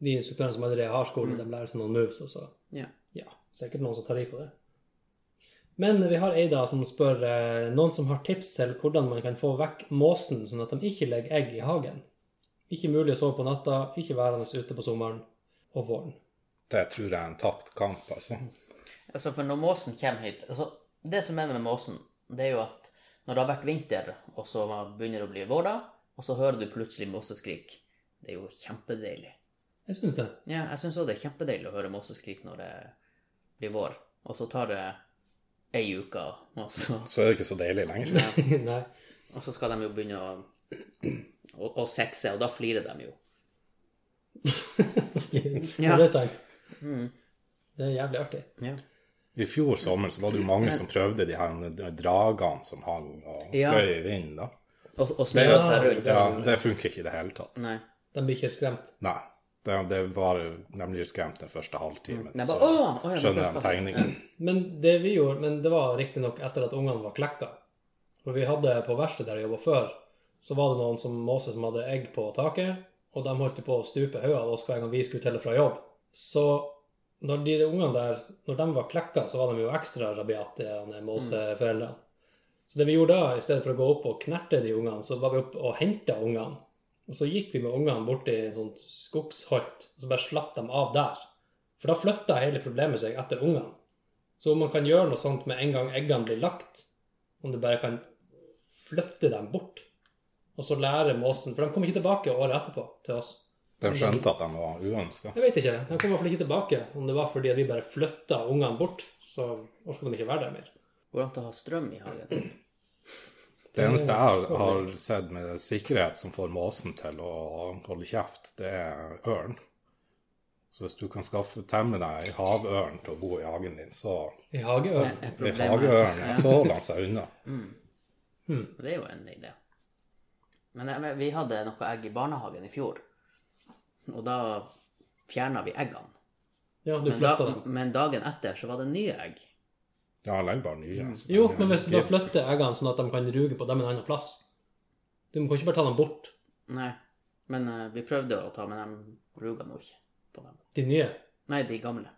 Speaker 2: De instruktørene som allerede har skole, de lærer seg noen moves, og så
Speaker 1: Mm. Ja.
Speaker 2: Ja, sikkert noen som tar i på det. Men vi har Eida som spør eh, noen som har tips til hvordan man kan få vekk måsen, sånn at de ikke legger egg i hagen. Ikke mulig å sove på natta, ikke værende ute på sommeren og våren.
Speaker 3: Det tror jeg er en tapt kamp, altså.
Speaker 1: Altså, for når måsen kommer hit altså, Det som er med måsen, det er jo at når det har vært vinter, og så begynner det å bli vår, da, og så hører du plutselig måseskrik. Det er jo kjempedeilig.
Speaker 2: Jeg syns det.
Speaker 1: Ja, jeg syns òg det er kjempedeilig å høre måseskrik når det blir vår. Og så tar det ei uke, og så,
Speaker 3: Så er det ikke så deilig lenger.
Speaker 1: ja,
Speaker 2: Nei.
Speaker 1: og så skal de jo begynne å, å, å sexe, og da flirer de jo.
Speaker 2: ja.
Speaker 1: Ja.
Speaker 2: Det er sant.
Speaker 1: Mm,
Speaker 2: Det er jævlig artig.
Speaker 1: ja.
Speaker 3: I fjor sommer så var det jo mange som prøvde de her dragene som hang og
Speaker 1: Ja.
Speaker 3: fløy i vinden, da.
Speaker 1: Og, og
Speaker 3: Det,
Speaker 1: snurrer seg rundt.
Speaker 3: ja, det funker ikke i det hele tatt.
Speaker 1: Nei.
Speaker 2: De blir ikke skremt.
Speaker 3: Nei. Det, det var nemlig skremt den første halvtimen.
Speaker 1: Nei,
Speaker 3: så
Speaker 1: bare, Mm. «Åh, åh, ja, men
Speaker 3: skjønner de
Speaker 1: så er det
Speaker 3: tegningen.
Speaker 2: Men det vi gjorde, men det var riktignok etter at ungene var klekka. For vi hadde på verkstedet der jeg jobba før, så var det noen som Måse som hadde egg på taket, og de holdt på å stupe hodet av oss hver gang vi skulle til og fra jobb. Så når de, de ungene der, når de var klekka, så var de jo ekstra rabiate, de Måse-foreldrene. Så det vi gjorde da, i stedet for å gå opp og knerte de ungene, så var vi oppe og henta ungene. Og så gikk vi med ungene bort til en sånn skogsholt, og så bare slapp dem av der. For da flytta hele problemet seg etter ungene. Så om man kan gjøre noe sånt med en gang eggene blir lagt, om du bare kan flytte dem bort, og så lære måsen For de kom ikke tilbake året etterpå til oss.
Speaker 3: De skjønte at de var uønska.
Speaker 2: Jeg vet ikke. De kom i hvert fall ikke tilbake. Om det var fordi at vi bare flytta ungene bort, så orka de ikke være der mer.
Speaker 1: Går det an til å ha strøm i hagen?
Speaker 3: Det eneste jeg har, har sett med sikkerhet som får måsen til å holde kjeft, det er ørn. Så hvis du kan skaffe, temme deg havørn til å bo i hagen din, så
Speaker 2: I hageøren.
Speaker 1: Er
Speaker 3: blir
Speaker 1: problemet-
Speaker 3: hageørnen,
Speaker 1: Ja.
Speaker 3: så holder han seg unna.
Speaker 1: Og Det er jo en idé. Men jeg- vi hadde noe egg i barnehagen i fjor, og da fjerna vi eggene.
Speaker 2: Ja, du
Speaker 1: Men,
Speaker 2: flytta
Speaker 1: da,
Speaker 2: dem.
Speaker 1: men dagen etter så var det nye egg.
Speaker 3: Ja, han legger bare nye. så
Speaker 2: Mm. Jo,
Speaker 3: det er
Speaker 2: men hvis du da
Speaker 3: gift.
Speaker 2: flytter eggene sånn at de kan ruge på dem en annen plass Du kan ikke bare ta dem bort,
Speaker 1: Nei. Men eh, vi prøvde å ta, men de ruga nå ikke på dem.
Speaker 2: de nye.
Speaker 1: Nei, de gamle.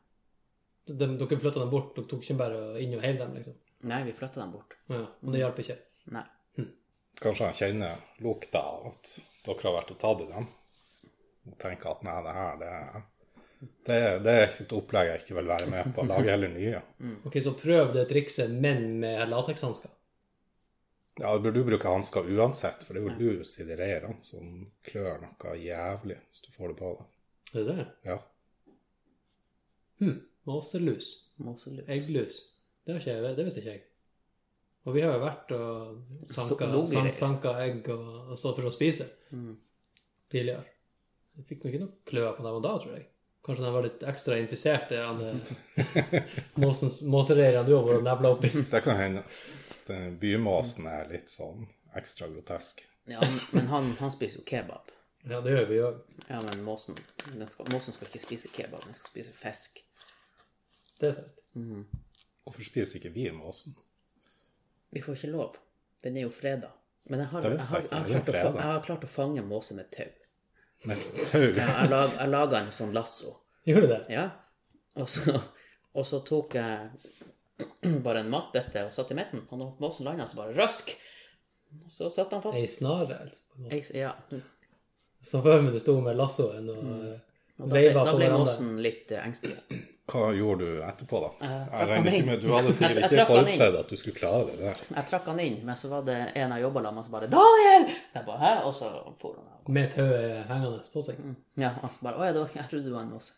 Speaker 2: De, dere flytta dem bort, dere tok ikke bare inn og heiv dem, liksom.
Speaker 1: Nei, vi flytta dem bort.
Speaker 2: Ja, men det hjalp ikke.
Speaker 1: Nei.
Speaker 3: Kanskje han kjenner lukta av at dere har vært og tatt i dem. Og tenker at nei, det her, det er, det, er- det er et opplegg jeg ikke vil være med på. Lag heller nye.
Speaker 2: Ok, så prøv det trikset, men med latekshansker.
Speaker 3: Ja, du burde bruke hansker uansett, for det er jo lus i de reirene som klør noe jævlig hvis du får det på deg.
Speaker 2: Er det det?
Speaker 3: Ja.
Speaker 2: Hm. Måselus.
Speaker 1: Måselus.
Speaker 2: Egglus. Det, har ikke, jeg- det visste ikke jeg. Og vi har jo vært og sanka,
Speaker 1: Så- loger
Speaker 2: san,
Speaker 1: jeg.
Speaker 2: sanka egg og, og så for å spise
Speaker 1: Mm.
Speaker 2: tidligere. Vi fikk nok ikke noe kløe på dem og da, tror jeg. Kanskje de var litt ekstra infisert, det han eh, måsens- måsereiren du har vært og nevla oppi.
Speaker 3: Det kan hende. Den bymåsen er litt sånn ekstra grotesk.
Speaker 1: Ja, men- men han, han spiser jo kebab.
Speaker 2: Ja, det gjør vi òg.
Speaker 1: Ja, men måsen, den skal, måsen skal ikke spise kebab, den skal spise fisk.
Speaker 2: Det er sant.
Speaker 1: Mhm.
Speaker 3: Hvorfor spiser ikke vi måsen?
Speaker 1: Vi får ikke lov. Den er jo freda. Men jeg har,
Speaker 3: Det
Speaker 1: jeg
Speaker 3: visste
Speaker 1: har,
Speaker 3: jeg
Speaker 1: jeg
Speaker 3: ikke.
Speaker 1: har,
Speaker 3: Det er
Speaker 1: klart, å fa
Speaker 3: fredag.
Speaker 1: jeg har klart å fange måse med tau.
Speaker 3: Med tau?
Speaker 1: Ja, Jeg, lag, jeg laga en sånn lasso.
Speaker 2: Gjorde du det?
Speaker 1: Ja. Og så, og så tok jeg bare en matbøtte og satt i midten, og når måsen landa, så bare røsk! Og så satt han fast. Mm.
Speaker 2: Ei snare, altså. på en måte.
Speaker 1: Jeg, ja.
Speaker 2: Så før men det sto med lassoen og eh,
Speaker 1: Og da ble,
Speaker 2: Veiva
Speaker 1: da
Speaker 2: på
Speaker 1: ble
Speaker 2: hverandre.
Speaker 1: Måsen litt eh, engstelig.
Speaker 3: Hva gjorde du etterpå, da?
Speaker 1: Eh,
Speaker 3: Jeg
Speaker 1: trakk han
Speaker 3: regner ikke
Speaker 1: inn.
Speaker 3: med Du hadde
Speaker 1: Jeg-
Speaker 3: sikkert
Speaker 1: jeg
Speaker 3: ikke
Speaker 1: trakk han inn.
Speaker 3: forutsett at du skulle klare det der.
Speaker 1: Jeg trakk han inn, men så var det en jeg jobba med som bare 'Daniel!' Så jeg bare, Hæ? Og så for han av. Mm.
Speaker 2: Med tauet hengende på seg.
Speaker 1: Ja, han bare 'Å ja, det var, jeg trodde du var en måse'.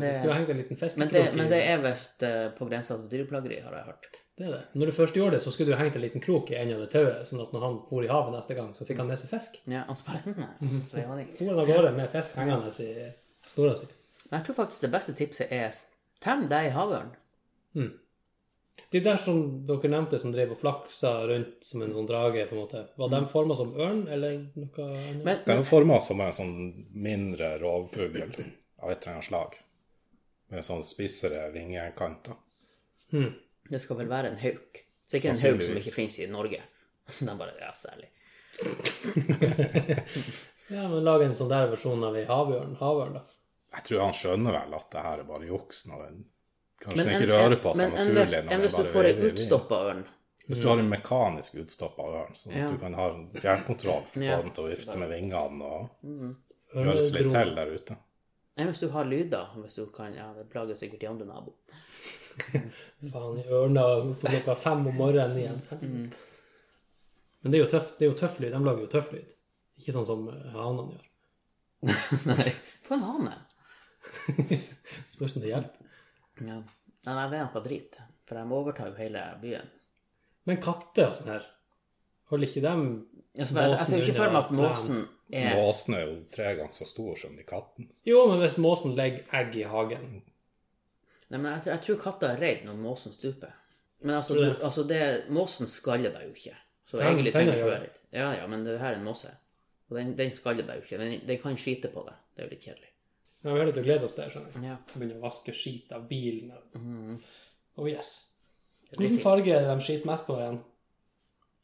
Speaker 1: Men det-
Speaker 2: Du skulle ha hengt en liten
Speaker 1: Men
Speaker 2: festekrok
Speaker 1: det, men det
Speaker 2: i
Speaker 1: er visst eh, på grensa til dyreplageri, har jeg hørt.
Speaker 2: det er det. Når du først gjorde det, så skulle du hengt en liten krok i enden av det tauet, sånn at når han for i havet neste gang, så fikk han med seg fisk.
Speaker 1: Ja, og så bare «Hm, Så er han ikke.
Speaker 2: For han av gårde med fisk hengende i snora si.
Speaker 1: Men jeg tror faktisk det beste tipset er tem deg havørn.
Speaker 2: De der som dere nevnte, som drev og flaksa rundt som en sånn drage, på en måte, var de forma som ørn, eller noe annet?
Speaker 1: Mhm. Men,
Speaker 3: Den er forma som en sånn mindre rovfugl av et eller annet slag. Med sånn spissere vingekanter.
Speaker 2: Hmm.
Speaker 1: Det skal vel være en hauk. Sikkert en hauk som
Speaker 3: Sannsynligvis.
Speaker 1: ikke finnes i Norge. Så de bare Ja, særlig.
Speaker 2: Ja, men lag en sånn der versjon av ei havørn. Havørn, da.
Speaker 3: Jeg tror han skjønner vel at det her er bare juks når en kanskje
Speaker 1: Men
Speaker 3: ikke
Speaker 1: en-
Speaker 3: rører på
Speaker 1: men
Speaker 3: seg
Speaker 1: en
Speaker 3: naturlig.
Speaker 1: hvis,
Speaker 3: når
Speaker 1: en
Speaker 3: den
Speaker 1: hvis du
Speaker 3: bare
Speaker 1: får ei
Speaker 3: veiver i vinden.
Speaker 1: utstoppa ørn
Speaker 3: Hvis du har en mekanisk utstoppa ørn, sånn at
Speaker 1: Ja.
Speaker 3: du kan ha en fjernkontroll for å
Speaker 1: Ja.
Speaker 3: få den til å vifte med vingene og gjøre seg litt
Speaker 2: Ørnedro.
Speaker 3: til der ute.
Speaker 1: Nei, Mm. hvis du har lyder hvis du kan, ja, Det plager sikkert de andre naboene.
Speaker 2: Faen, i ørna på klokka fem om morgenen igjen.
Speaker 1: Mm.
Speaker 2: Men det er jo tøff, det er jo tøff lyd. De lager jo tøff lyd. Ikke sånn som eh, hanene gjør.
Speaker 1: Nei, for en hane!
Speaker 2: Spørs om det hjelper.
Speaker 1: Ja. Nei, nei, det er noe drit. For de overtar jo hele byen.
Speaker 2: Men katter og sånn her, holder ikke dem
Speaker 1: Ja, så bare, Altså, jeg ser jo ikke for meg at måsen er
Speaker 3: Måsen er jo tre ganger så stor som de katten.
Speaker 2: Jo, men hvis måsen legger egg i hagen
Speaker 1: Nei, men jeg, tror- jeg tror katta er redd når måsen stuper. Men altså,
Speaker 2: Tror du
Speaker 1: du,
Speaker 2: det?
Speaker 1: altså det, måsen skaller deg jo ikke. Så
Speaker 2: Tenn-
Speaker 1: egentlig trenger
Speaker 2: tenner
Speaker 1: du ikke
Speaker 2: gjør
Speaker 1: være redd. Ja, ja, men det her er en måse. Og den, den skaller deg jo ikke. Den, den kan skite på deg. Det er jo litt kjedelig.
Speaker 2: Men vi har litt å glede oss til, skjønner jeg.
Speaker 1: Ja.
Speaker 2: Begynner å vaske skit av bilen. og-
Speaker 1: Mm.
Speaker 2: Oh yes.
Speaker 1: Det blir
Speaker 2: Hvilken
Speaker 1: fint.
Speaker 2: farge er det de skiter mest på igjen?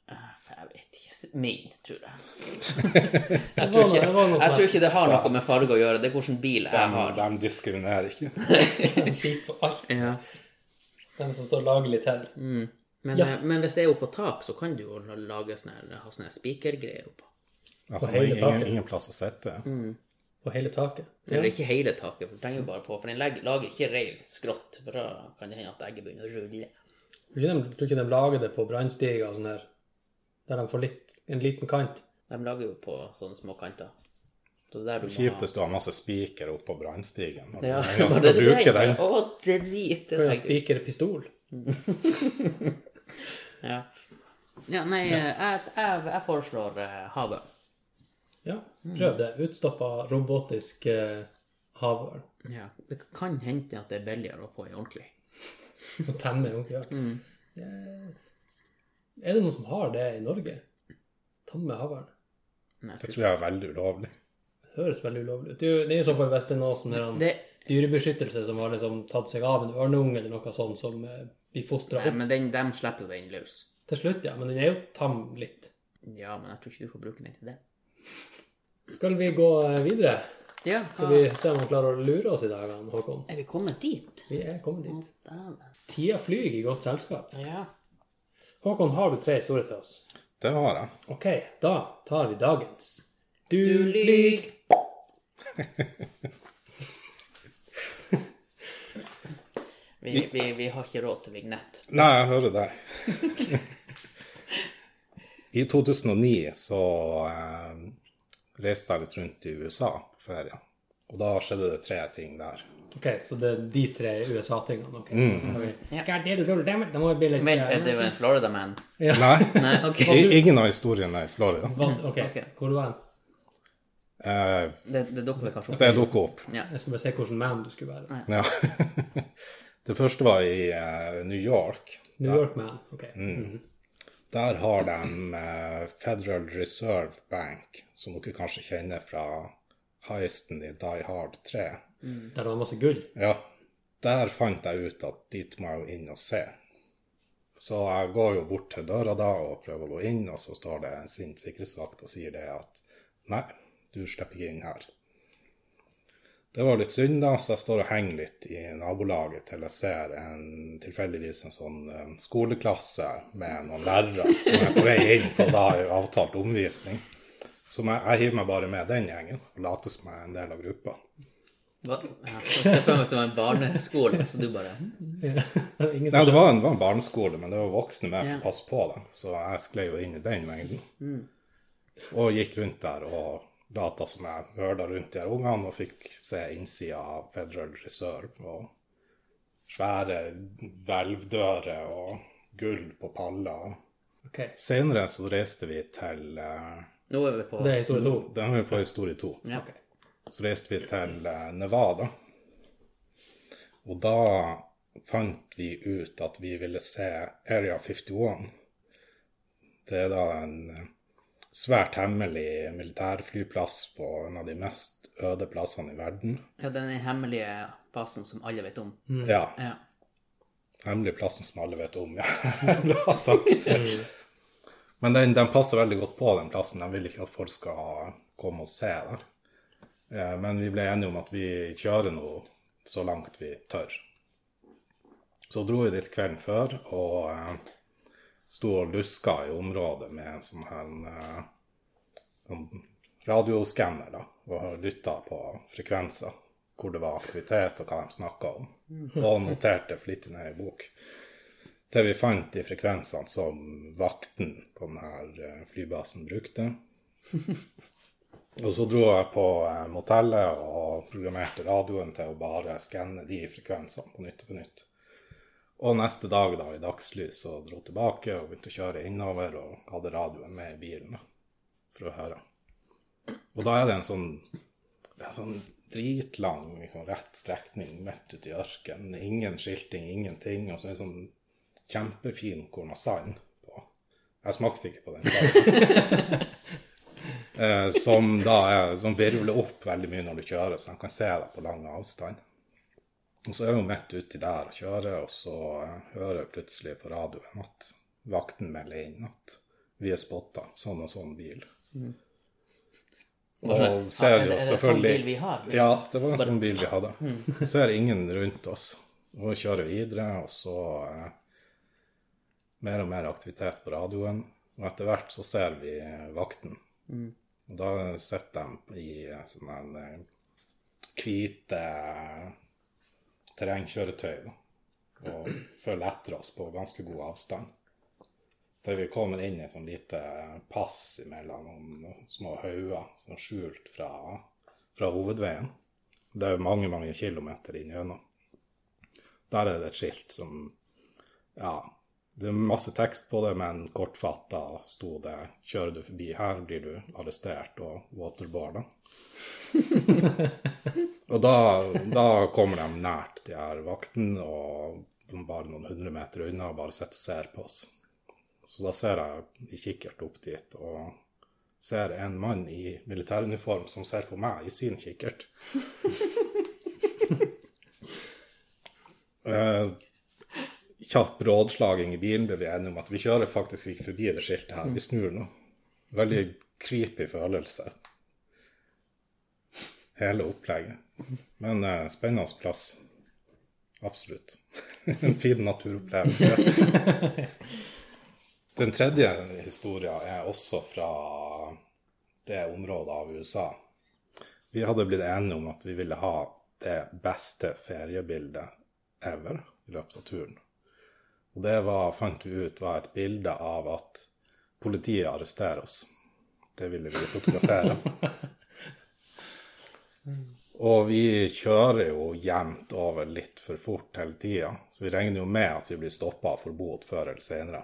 Speaker 1: Eh, Jeg vet ikke. Min, tror jeg.
Speaker 2: Jeg
Speaker 1: tror ikke- Jeg tror ikke det har noe med farge å gjøre. Det er hvilken bil
Speaker 3: De,
Speaker 1: jeg har.
Speaker 3: de diskriminerer ikke.
Speaker 2: De skiter på alt.
Speaker 1: Ja.
Speaker 2: De som står lagelig til.
Speaker 1: Mm. Men,
Speaker 2: Ja.
Speaker 1: eh, men hvis det er oppå tak, så kan du jo lage sånne, her- ha sånne spikergreier oppå.
Speaker 3: Altså,
Speaker 2: På hele
Speaker 3: ingen,
Speaker 2: taket.
Speaker 3: ingen plass å sitte.
Speaker 1: Mm.
Speaker 2: På hele taket.
Speaker 1: Eller ikke hele taket, for den henger jo bare på. For den legger, lager ikke reir skrått, for da kan det hende at egget begynner å rulle.
Speaker 2: Tror ikke de, tror ikke de lager det på brannstiger og sånn her, der de får litt, en liten kant.
Speaker 1: De lager jo på sånne små kanter. Så det er der du må
Speaker 3: Kjipt
Speaker 1: ha
Speaker 3: hvis du har masse spiker oppå brannstigen når
Speaker 1: Ja,
Speaker 3: du en gang
Speaker 1: det
Speaker 3: skal
Speaker 1: er
Speaker 3: bruke
Speaker 1: reir.
Speaker 3: den.
Speaker 1: Å, drit!
Speaker 2: Kan jo
Speaker 1: Det er
Speaker 2: spikere pistol.
Speaker 1: ja. ja, nei, eh, jeg, jeg, jeg foreslår eh, havørn.
Speaker 2: Ja,
Speaker 1: Mm.
Speaker 2: prøv det. Utstoppa robotisk eh, havørn.
Speaker 1: Ja. Det kan hende at det er billigere å få ei ordentlig.
Speaker 2: Og temme onkelhjørn.
Speaker 1: Mm.
Speaker 2: Er det noen som har det i Norge? Tamme havørn?
Speaker 1: Men jeg
Speaker 3: Det
Speaker 1: tror-
Speaker 3: tror jeg er veldig ulovlig.
Speaker 2: Høres veldig ulovlig ut. Det er jo- Det er i så fall hvis det er noe som er en
Speaker 1: Det,
Speaker 2: dyrebeskyttelse som har liksom tatt seg av en ørneunge eller noe sånt som eh, blir fostra
Speaker 1: nei,
Speaker 2: opp
Speaker 1: men den, de slipper jo den løs.
Speaker 2: til slutt, ja. Men den er jo tam litt.
Speaker 1: Ja, men jeg tror ikke du får bruke den til det.
Speaker 2: Skal vi gå eh, videre?
Speaker 1: Ja,
Speaker 2: Skal vi se om han klarer å lure oss i dag, han, Håkon?
Speaker 1: Er vi kommet dit?
Speaker 2: Vi er kommet
Speaker 1: Å,
Speaker 2: dit.
Speaker 1: dæven.
Speaker 2: Tida flyr i godt selskap.
Speaker 1: Ja.
Speaker 2: Håkon, har du tre historier til oss?
Speaker 3: Det har jeg.
Speaker 2: OK, da tar vi dagens. Du
Speaker 1: lyg. vi, vi, vi har ikke råd til vignett.
Speaker 3: Nei, jeg hører deg. I 2009 så eh, reiste jeg litt rundt i USA på ferie. Og da skjedde det tre ting der.
Speaker 2: OK, så det er de tre USA-tingene. ok.
Speaker 3: Mm.
Speaker 2: Så har vi...
Speaker 1: Ja.
Speaker 2: God damn it, God damn it. Da må vi bli litt
Speaker 1: Vent, er eh, det jo en Florida Man?
Speaker 2: ja.
Speaker 3: Nei,
Speaker 1: Nei, OK.
Speaker 3: i- ingen av historiene er i Florida.
Speaker 2: Hva- OK,
Speaker 1: Ok.
Speaker 2: hvor var den?
Speaker 3: Eh,
Speaker 1: Det, det dukker vel kanskje opp.
Speaker 3: det dukker opp.
Speaker 2: Jeg skal bare se hvilken man du skulle være.
Speaker 3: Ja. Det første var i eh, New York.
Speaker 2: New York-man. ok.
Speaker 3: Mm.
Speaker 2: Mhm.
Speaker 3: Der har de eh, Federal Reserve Bank, som dere kanskje kjenner fra heisten i Die Hard 3.
Speaker 2: Der det var masse gull.
Speaker 3: Ja, der fant jeg ut at dit må jeg jo inn og se. Så jeg går jo bort til døra da og prøver å gå inn, og så står det en sint sikkerhetsvakt og sier det at nei, du slipper ikke inn her. Det var litt synd, da, så jeg står og henger litt i nabolaget til jeg ser en, tilfeldigvis en sånn eh, skoleklasse med noen lærere som er på vei inn på da en avtalt omvisning. Så jeg, jeg hiver meg bare med den gjengen og later som jeg er en del av gruppa.
Speaker 1: Hva? Ja, Se for meg hvis det var en barneskole, så du bare hm.
Speaker 2: Ingen
Speaker 3: Nei,
Speaker 2: som
Speaker 3: det var en, det var en barneskole, men det var voksne med for
Speaker 1: Ja.
Speaker 3: å passe på dem. Så jeg sklei jo inn i den mengden.
Speaker 2: Mm.
Speaker 3: Og gikk rundt der og lata som jeg høla rundt de her ungene, og fikk se innsida av Federal Reserve og svære hvelvdører og gulv på paller.
Speaker 2: Ok,
Speaker 3: Senere så reiste vi til eh,
Speaker 1: Nå er vi på
Speaker 2: det er historie to.
Speaker 3: Da er vi på historie to.
Speaker 1: Ja.
Speaker 2: Ok.
Speaker 3: Så reiste vi til eh, Nevada. Og da fant vi ut at vi ville se Area 51. Det er da en eh, svært hemmelig militærflyplass på en av de mest øde plassene i verden.
Speaker 1: ja, den hemmelige basen som alle vet om.
Speaker 2: Mm.
Speaker 3: Ja,
Speaker 1: Ja.
Speaker 3: hemmelig plassen som alle vet om, ja. Bra sagt. Men den, den passer veldig godt på den plassen. De vil ikke at folk skal komme og se det. Eh, Men vi ble enige om at vi kjører nå så langt vi tør. Så dro vi dit kvelden før og eh, sto og luska i området med en sånn her eh, sånn radioskanner da, og lytta på frekvenser. Hvor det var aktivitet, og hva de snakka om. Og noterte flittig ned i bok det vi fant i frekvensene som vakten på denne eh, flybasen brukte. Og så dro jeg på eh, motellet og programmerte radioen til å bare skanne de frekvensene på nytt og på nytt. Og neste dag da, i dagslys så dro jeg tilbake og begynte å kjøre innover og hadde radioen med i bilen da, for å høre. Og da er det en sånn, det er en sånn dritlang liksom, rett strekning midt ute i ørkenen. Ingen skilting, ingenting. Og så er det sånn kjempefin kornasand på. Jeg smakte ikke på den. sanden. eh, som da er, som virvler opp veldig mye når du kjører, så han kan se deg på lang avstand. Og så er hun midt uti der og kjører, og så eh, hører jeg plutselig på radioen at vakten melder inn at vi er spotta, sånn og sånn bil. Og ser jo
Speaker 1: Mm. Er det- er det sånn
Speaker 3: selvfølgelig
Speaker 1: bil vi har?
Speaker 3: Ja, det var en sånn bil vi hadde. Ser ingen rundt oss. Og kjører videre, og så eh, mer og mer aktivitet på radioen. Og etter hvert så ser vi eh, vakten.
Speaker 1: Mm,
Speaker 3: Og da sitter de i eh, sånne her, eh, hvite eh, terrengkjøretøy da, og følger etter oss på ganske god avstand. Der vi kommer inn i et sånn lite pass imellom noen små hauger, sånn skjult fra, fra hovedveien. Det er jo mange, mange kilometer inn gjennom. Der er det et skilt som Ja, det er masse tekst på det, men kortfatta sto det 'Kjører du forbi her, blir du arrestert og waterboarda'. og da, da kommer de nært de her vaktene, og bare noen hundre meter unna, bare sitter og ser på oss. Så da ser jeg i kikkert opp dit og ser en mann i militæruniform som ser på meg i sin kikkert. Eh, kjapp rådslaging i bilen ble vi enige om at vi kjører faktisk ikke forbi det skiltet her, vi snur nå. Veldig creepy følelse. Hele opplegget. Men eh, spennende plass. Absolutt. en fin naturopplevelse.
Speaker 2: Mm.
Speaker 3: Den tredje historien er også fra det området av USA. Vi hadde blitt enige om at vi ville ha det beste feriebildet ever i løpet av turen. Og det var, fant vi ut var et bilde av at politiet arresterer oss. Det ville vi fotografere. Og vi kjører jo jevnt over litt for fort hele tida, så vi regner jo med at vi blir stoppa for bot før eller senere.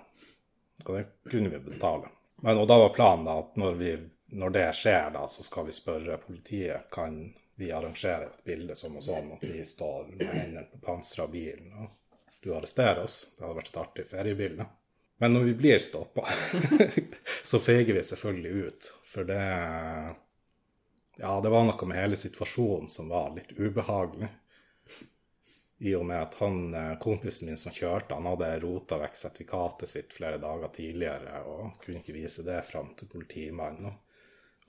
Speaker 3: Og det kunne vi betale. Men, og da var planen da at når, vi, når det skjer, da, så skal vi spørre politiet kan vi arrangere et bilde som og sånn, at vi står med hendene på panseret av bilen, og du arresterer oss. Det hadde vært et artig feriebilde. Men når vi blir stoppa, så feiger vi selvfølgelig ut. For det Ja, det var noe med hele situasjonen som var litt ubehagelig i og med at han, eh, kompisen min som kjørte, han hadde rota vekk sertifikatet sitt flere dager tidligere og kunne ikke vise det fram til politimannen. Og,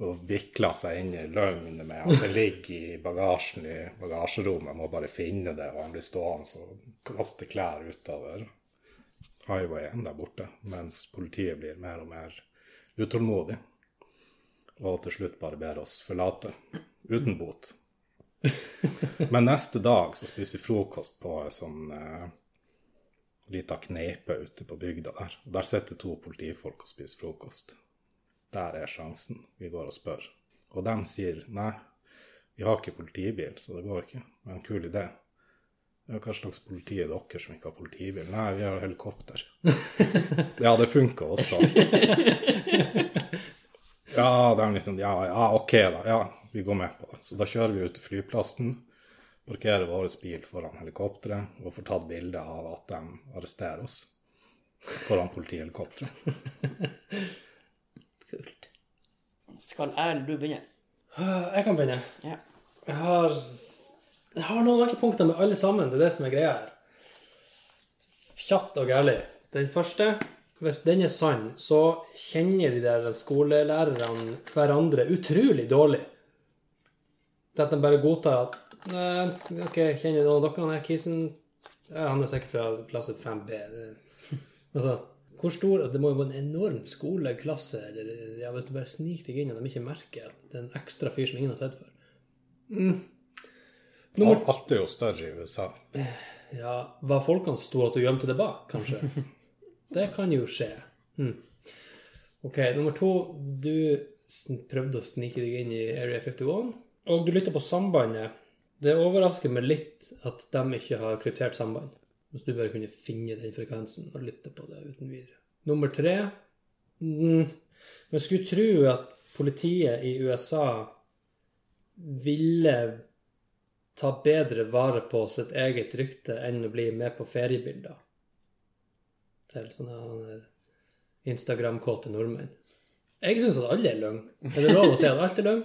Speaker 3: og vikla seg inn i løgn med at det ligger i bagasjen i bagasjerommet, jeg må bare finne det. Og han blir stående og kaste klær utover highwayen der borte, mens politiet blir mer og mer utålmodig. og til slutt bare ber oss forlate. Uten bot. Men neste dag så spiser vi frokost på en sånn eh, lita kneipe ute på bygda der. Og Der sitter to politifolk og spiser frokost. Der er sjansen. Vi går og spør. Og de sier nei, vi har ikke politibil, så det går ikke. Men kul idé. Ja, hva slags politi er dere som ikke har politibil? Nei, vi har helikopter. ja, det funka også. Ja, de liksom, ja, ja, ok da, ja, vi går med på det. Så da kjører vi ut til flyplassen, parkerer vår bil foran helikopteret og får tatt bilde av at de arresterer oss foran politihelikopteret.
Speaker 1: Kult. Skal jeg eller du begynne?
Speaker 2: Jeg kan begynne.
Speaker 1: Ja.
Speaker 2: Jeg har, jeg har noen ankepunkter med alle sammen. Det er det som er greia her. Kjapt og gærlig. Den første, hvis den er sann, så kjenner de der skolelærerne hverandre utrolig dårlig. Det at de bare godtar at Nei, OK, kjenner noen av dere han her kisen? Ja, han er sikkert fra klasse 5B. Altså, hvor stor Det må jo være en enorm skoleklasse eller, ja, hvis du bare sniker deg inn og de ikke merker at det er en ekstra fyr som ingen har sett før. Nummer-
Speaker 3: Alt er jo større i USA.
Speaker 2: Ja, var folkene så store at du gjemte det bak, kanskje? det kan jo skje. Hm. Ok, nummer to. Du sn- prøvde å snike deg inn i Area 51, og du lytter på sambandet. Det overrasker meg litt at de ikke har kryptert samband. Hvis du bare kunne finne den frekvensen og lytte på det uten videre. Nummer tre. Mm. Man skulle tro at politiet i USA ville ta bedre vare på sitt eget rykte enn å bli med på feriebilder til sånne her Instagram-kåte nordmenn. Jeg syns at alle er løgn. Er det lov å si at alt er løgn?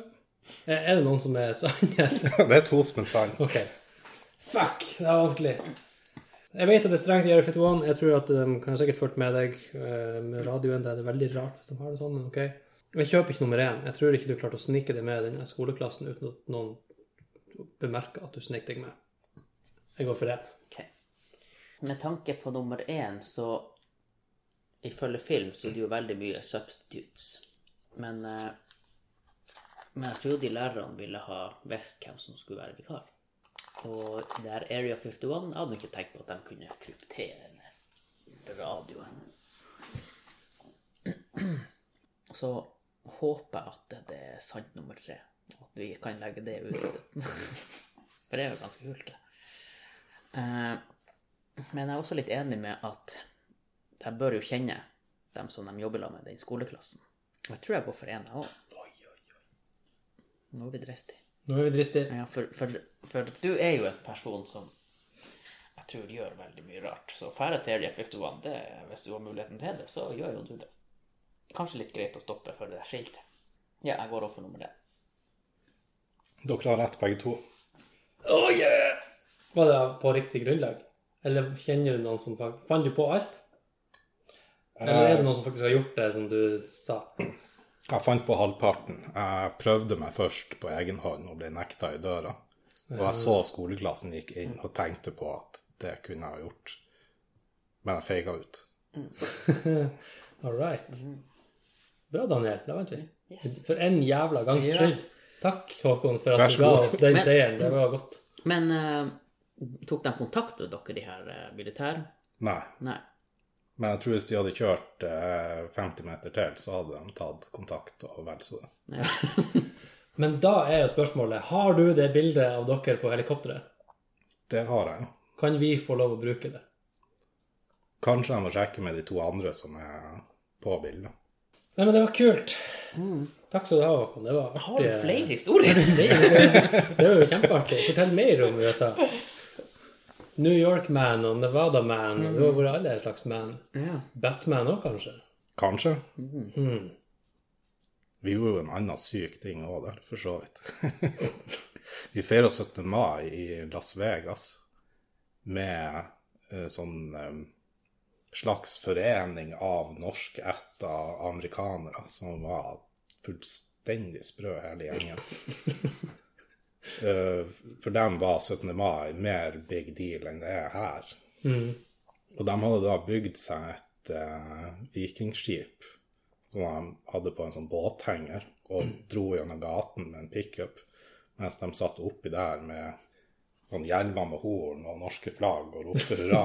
Speaker 2: Er er det noen som er sanne?
Speaker 3: Det er to som er sann.
Speaker 2: OK. Fuck, det er vanskelig. Jeg vet at det er strengt i Area 51. Jeg tror at de kan sikkert fulgt med deg eh, med radioen. Det er det veldig rart hvis de har det sånn, men OK. Jeg kjøper ikke nummer én. Jeg tror ikke du klarte å snike deg med denne skoleklassen uten at noen bemerker at du snek deg med. Jeg går for det.
Speaker 1: Ok. Med tanke på nummer én, så ifølge film så er det jo veldig mye substitutes. Men, eh, men jeg tror de lærerne ville ha visst hvem som skulle være vikar. Og det her Area 51 jeg hadde ikke tenkt på at de kunne kryptere med radioen. Så håper jeg at det er sant nummer tre. At vi kan legge det ut. For det er jo ganske kult, det. Eh, Men jeg er også litt enig med at jeg bør jo kjenne dem som de jobber sammen med, den skoleklassen. Og jeg tror jeg går for en, jeg òg. Nå er vi dristige.
Speaker 2: Nå er vi dristige.
Speaker 1: Ja, for, for, for du er jo en person som jeg tror gjør veldig mye rart. Så færre til reflektoren, det, hvis du har muligheten til det, så gjør jo du det. Kanskje litt greit å stoppe for det der skiltet. Ja, jeg går over for nummer én.
Speaker 3: Dere har rett, begge to.
Speaker 2: Oh, yeah! Var det på riktig grunnlag? Eller kjenner du noen som faktisk Fant du på alt? Eller er det noen som faktisk har gjort det, som du sa?
Speaker 3: Jeg fant på halvparten. Jeg prøvde meg først på egen hånd og ble nekta i døra. Og jeg så skoleklassen gikk inn og tenkte på at det kunne jeg ha gjort. Men jeg feiga ut.
Speaker 2: All right. Bra, Daniel. Det var ikke
Speaker 1: Yes.
Speaker 2: For en jævla gangs
Speaker 1: Ja.
Speaker 2: skyld. Takk, Håkon, for
Speaker 3: Vær
Speaker 2: at
Speaker 3: så
Speaker 2: du ga
Speaker 3: god.
Speaker 2: oss den
Speaker 1: Men-
Speaker 2: seieren. Det var godt.
Speaker 1: Men eh, tok de kontakt med dere, de her eh, militære?
Speaker 3: Nei.
Speaker 1: Nei.
Speaker 3: Men jeg tror hvis de hadde kjørt eh, 50 meter til, så hadde de tatt kontakt og vel så det.
Speaker 1: Ja.
Speaker 2: Men da er jo spørsmålet Har du det bildet av dere på helikopteret?
Speaker 3: Det har jeg.
Speaker 2: Kan vi få lov å bruke det?
Speaker 3: Kanskje jeg må sjekke med de to andre som er på bildet.
Speaker 2: Nei, men det var kult. Takk skal du ha, Håkon. Det var
Speaker 1: Mm. Har du
Speaker 2: artig.
Speaker 1: flere historier?
Speaker 2: Det var jo kjempeartig. Fortell mer om USA. New York-man og Nevada-man. og Du har vært alle slags man.
Speaker 1: Ja.
Speaker 2: Batman òg, kanskje?
Speaker 3: Kanskje.
Speaker 2: Hmm.
Speaker 3: Vi gjorde jo en annen syk ting òg der, for så vidt. vi feira 17. mai i Las Vegas med eh, sånn eh, slags forening av norskætta amerikanere som var fullstendig sprø hele gjengen. Eh, for dem var 17. mai mer big deal enn det er her.
Speaker 2: Hmm.
Speaker 3: Og de hadde da bygd seg et eh, vikingskip som de hadde på en sånn båthenger, og dro gjennom gaten med en pickup, mens de satt oppi der med sånn hjelmer med horn og norske flagg og ropte hurra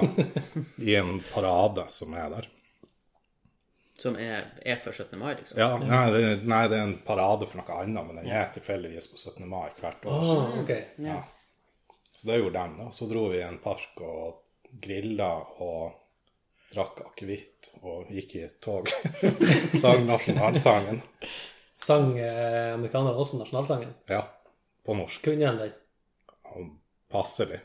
Speaker 3: i en parade som er der.
Speaker 1: Som er, er for 17. mai, liksom.
Speaker 3: Ja, nei det, nei, det er en parade for noe annet, men den er tilfeldigvis på 17. mai hvert år. så-
Speaker 2: Ah, ok.
Speaker 3: Ja. Så det gjorde de, da. Så dro vi i en park og grilla og drakk akevitt og gikk i et tog. Sang nasjonalsangen.
Speaker 2: Sang eh, amerikanerne også nasjonalsangen?
Speaker 3: Ja, på norsk.
Speaker 2: Kunne han den?
Speaker 3: Og Passelig.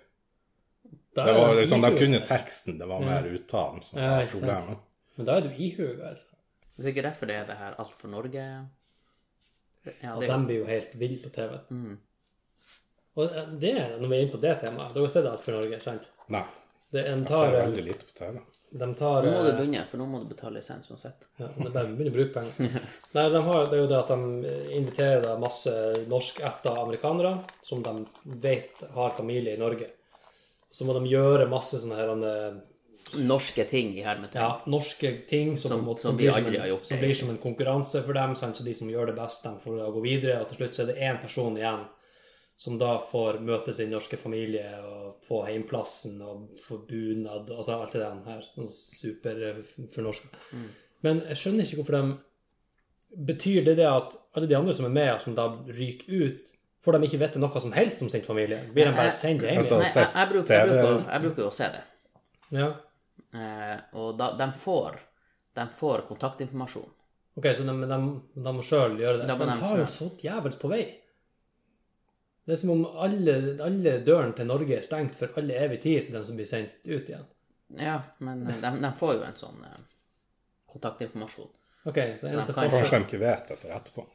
Speaker 2: Da
Speaker 3: Det
Speaker 2: er
Speaker 3: var
Speaker 2: du
Speaker 3: liksom, De
Speaker 2: ihuga,
Speaker 3: kunne
Speaker 2: altså.
Speaker 3: teksten, det var mer uttalen som
Speaker 2: Ja,
Speaker 3: var
Speaker 2: ikke sant.
Speaker 3: problemet.
Speaker 2: Men da er du ihuga, altså.
Speaker 1: Det er sikkert derfor det er det her Alt for Norge Ja,
Speaker 2: Og
Speaker 1: det
Speaker 2: de
Speaker 1: er jo
Speaker 2: blir jo helt ville på TV.
Speaker 1: mm.
Speaker 2: Og eh, det, når vi er inne på det temaet Dere har sett Alt for Norge, sant?
Speaker 3: Nei,
Speaker 2: Det, en
Speaker 3: jeg
Speaker 2: tar,
Speaker 3: ser veldig lite på TV.
Speaker 2: de tar
Speaker 1: Nå må du
Speaker 2: eh,
Speaker 1: begynne, for nå må du betale lisens uansett.
Speaker 2: Ja, det er bare å begynne å bruke penger. Nei, de har, det er jo det at de inviterer da masse norskætta amerikanere som de vet har familie i Norge. Så må de gjøre masse sånne her, eh,
Speaker 1: Norske ting i hermetegn.
Speaker 2: ja, norske ting som,
Speaker 1: Som-
Speaker 2: på en måte-
Speaker 1: som vi
Speaker 2: blir
Speaker 1: aldri
Speaker 2: en,
Speaker 1: har gjort,
Speaker 2: Som blir som en konkurranse for dem, sant? så de som gjør det best, de får da gå videre. Og til slutt så er det én person igjen som da får møte sin norske familie og på heimplassen og få bunad altså alt det der her. Sånn superfornorska.
Speaker 1: Mm.
Speaker 2: Men jeg skjønner ikke hvorfor de Betyr det det at alle de andre som er med, og som da ryker ut, får de ikke vite noe som helst om sin familie? Blir de bare sendt hjem
Speaker 3: Altså-
Speaker 2: igjen?
Speaker 1: Nei, jeg, jeg, bruker, jeg, bruker, jeg bruker jo å se det.
Speaker 2: Ja.
Speaker 1: Eh, og da, de, får, de får kontaktinformasjon.
Speaker 2: Ok, så de, de, de må sjøl gjøre det.
Speaker 1: Da må
Speaker 2: For de
Speaker 1: de
Speaker 2: tar jo så
Speaker 1: selv.
Speaker 2: djevels på vei. Det er som om alle, alle dørene til Norge er stengt for alle evig tid til dem som blir sendt ut igjen.
Speaker 1: Ja, men eh, de, de får jo en sånn eh, kontaktinformasjon.
Speaker 2: Ok, så
Speaker 1: de
Speaker 2: eneste
Speaker 1: kan
Speaker 2: forskjell-
Speaker 3: Kanskje de ikke vet det for etterpå,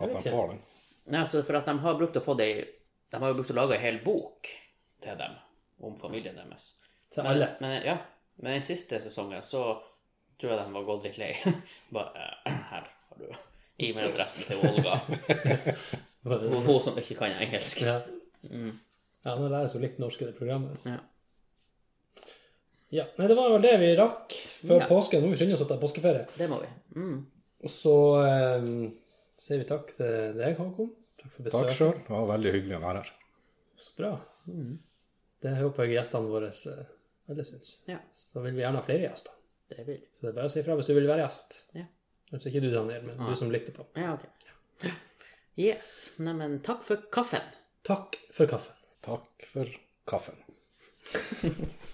Speaker 3: at
Speaker 2: vet
Speaker 3: de
Speaker 2: ikke.
Speaker 3: får den.
Speaker 1: Nei, altså for at de har brukt å få det i De har jo brukt å lage en hel bok til dem om familien deres.
Speaker 2: til alle.
Speaker 1: Men, ja, men den siste sesongen så tror jeg de var gått litt lei. Bare eh, Her har du e-mailadressen til Olga. Hun, hun som ikke kan engelsk.
Speaker 2: Ja.
Speaker 1: Mm.
Speaker 2: ja, nå læres jo litt norsk i det programmet. altså.
Speaker 1: Ja.
Speaker 2: Ja, nei, Det var vel det vi rakk før
Speaker 1: Ja.
Speaker 2: påske. Nå må vi skynde oss å ta påskeferie.
Speaker 1: Det må vi. Mm.
Speaker 2: Og så eh, sier vi takk til deg, Håkon. Takk for
Speaker 3: Takk
Speaker 2: besøket.
Speaker 3: sjøl, det var veldig hyggelig å være her.
Speaker 2: Så bra.
Speaker 1: Mm.
Speaker 2: Det håper jeg gjestene våre eh, alle syns.
Speaker 1: Ja.
Speaker 2: Så vil vi gjerne ha flere gjester.
Speaker 1: Det vil
Speaker 2: Så det er bare å si ifra hvis du vil være gjest.
Speaker 1: Ja.
Speaker 2: Altså ikke du, Daniel, men
Speaker 1: Nei.
Speaker 2: du som lytter på.
Speaker 1: Ja, ok. Yes. Neimen, takk for kaffen.
Speaker 2: Takk for kaffen.
Speaker 3: Takk for kaffen.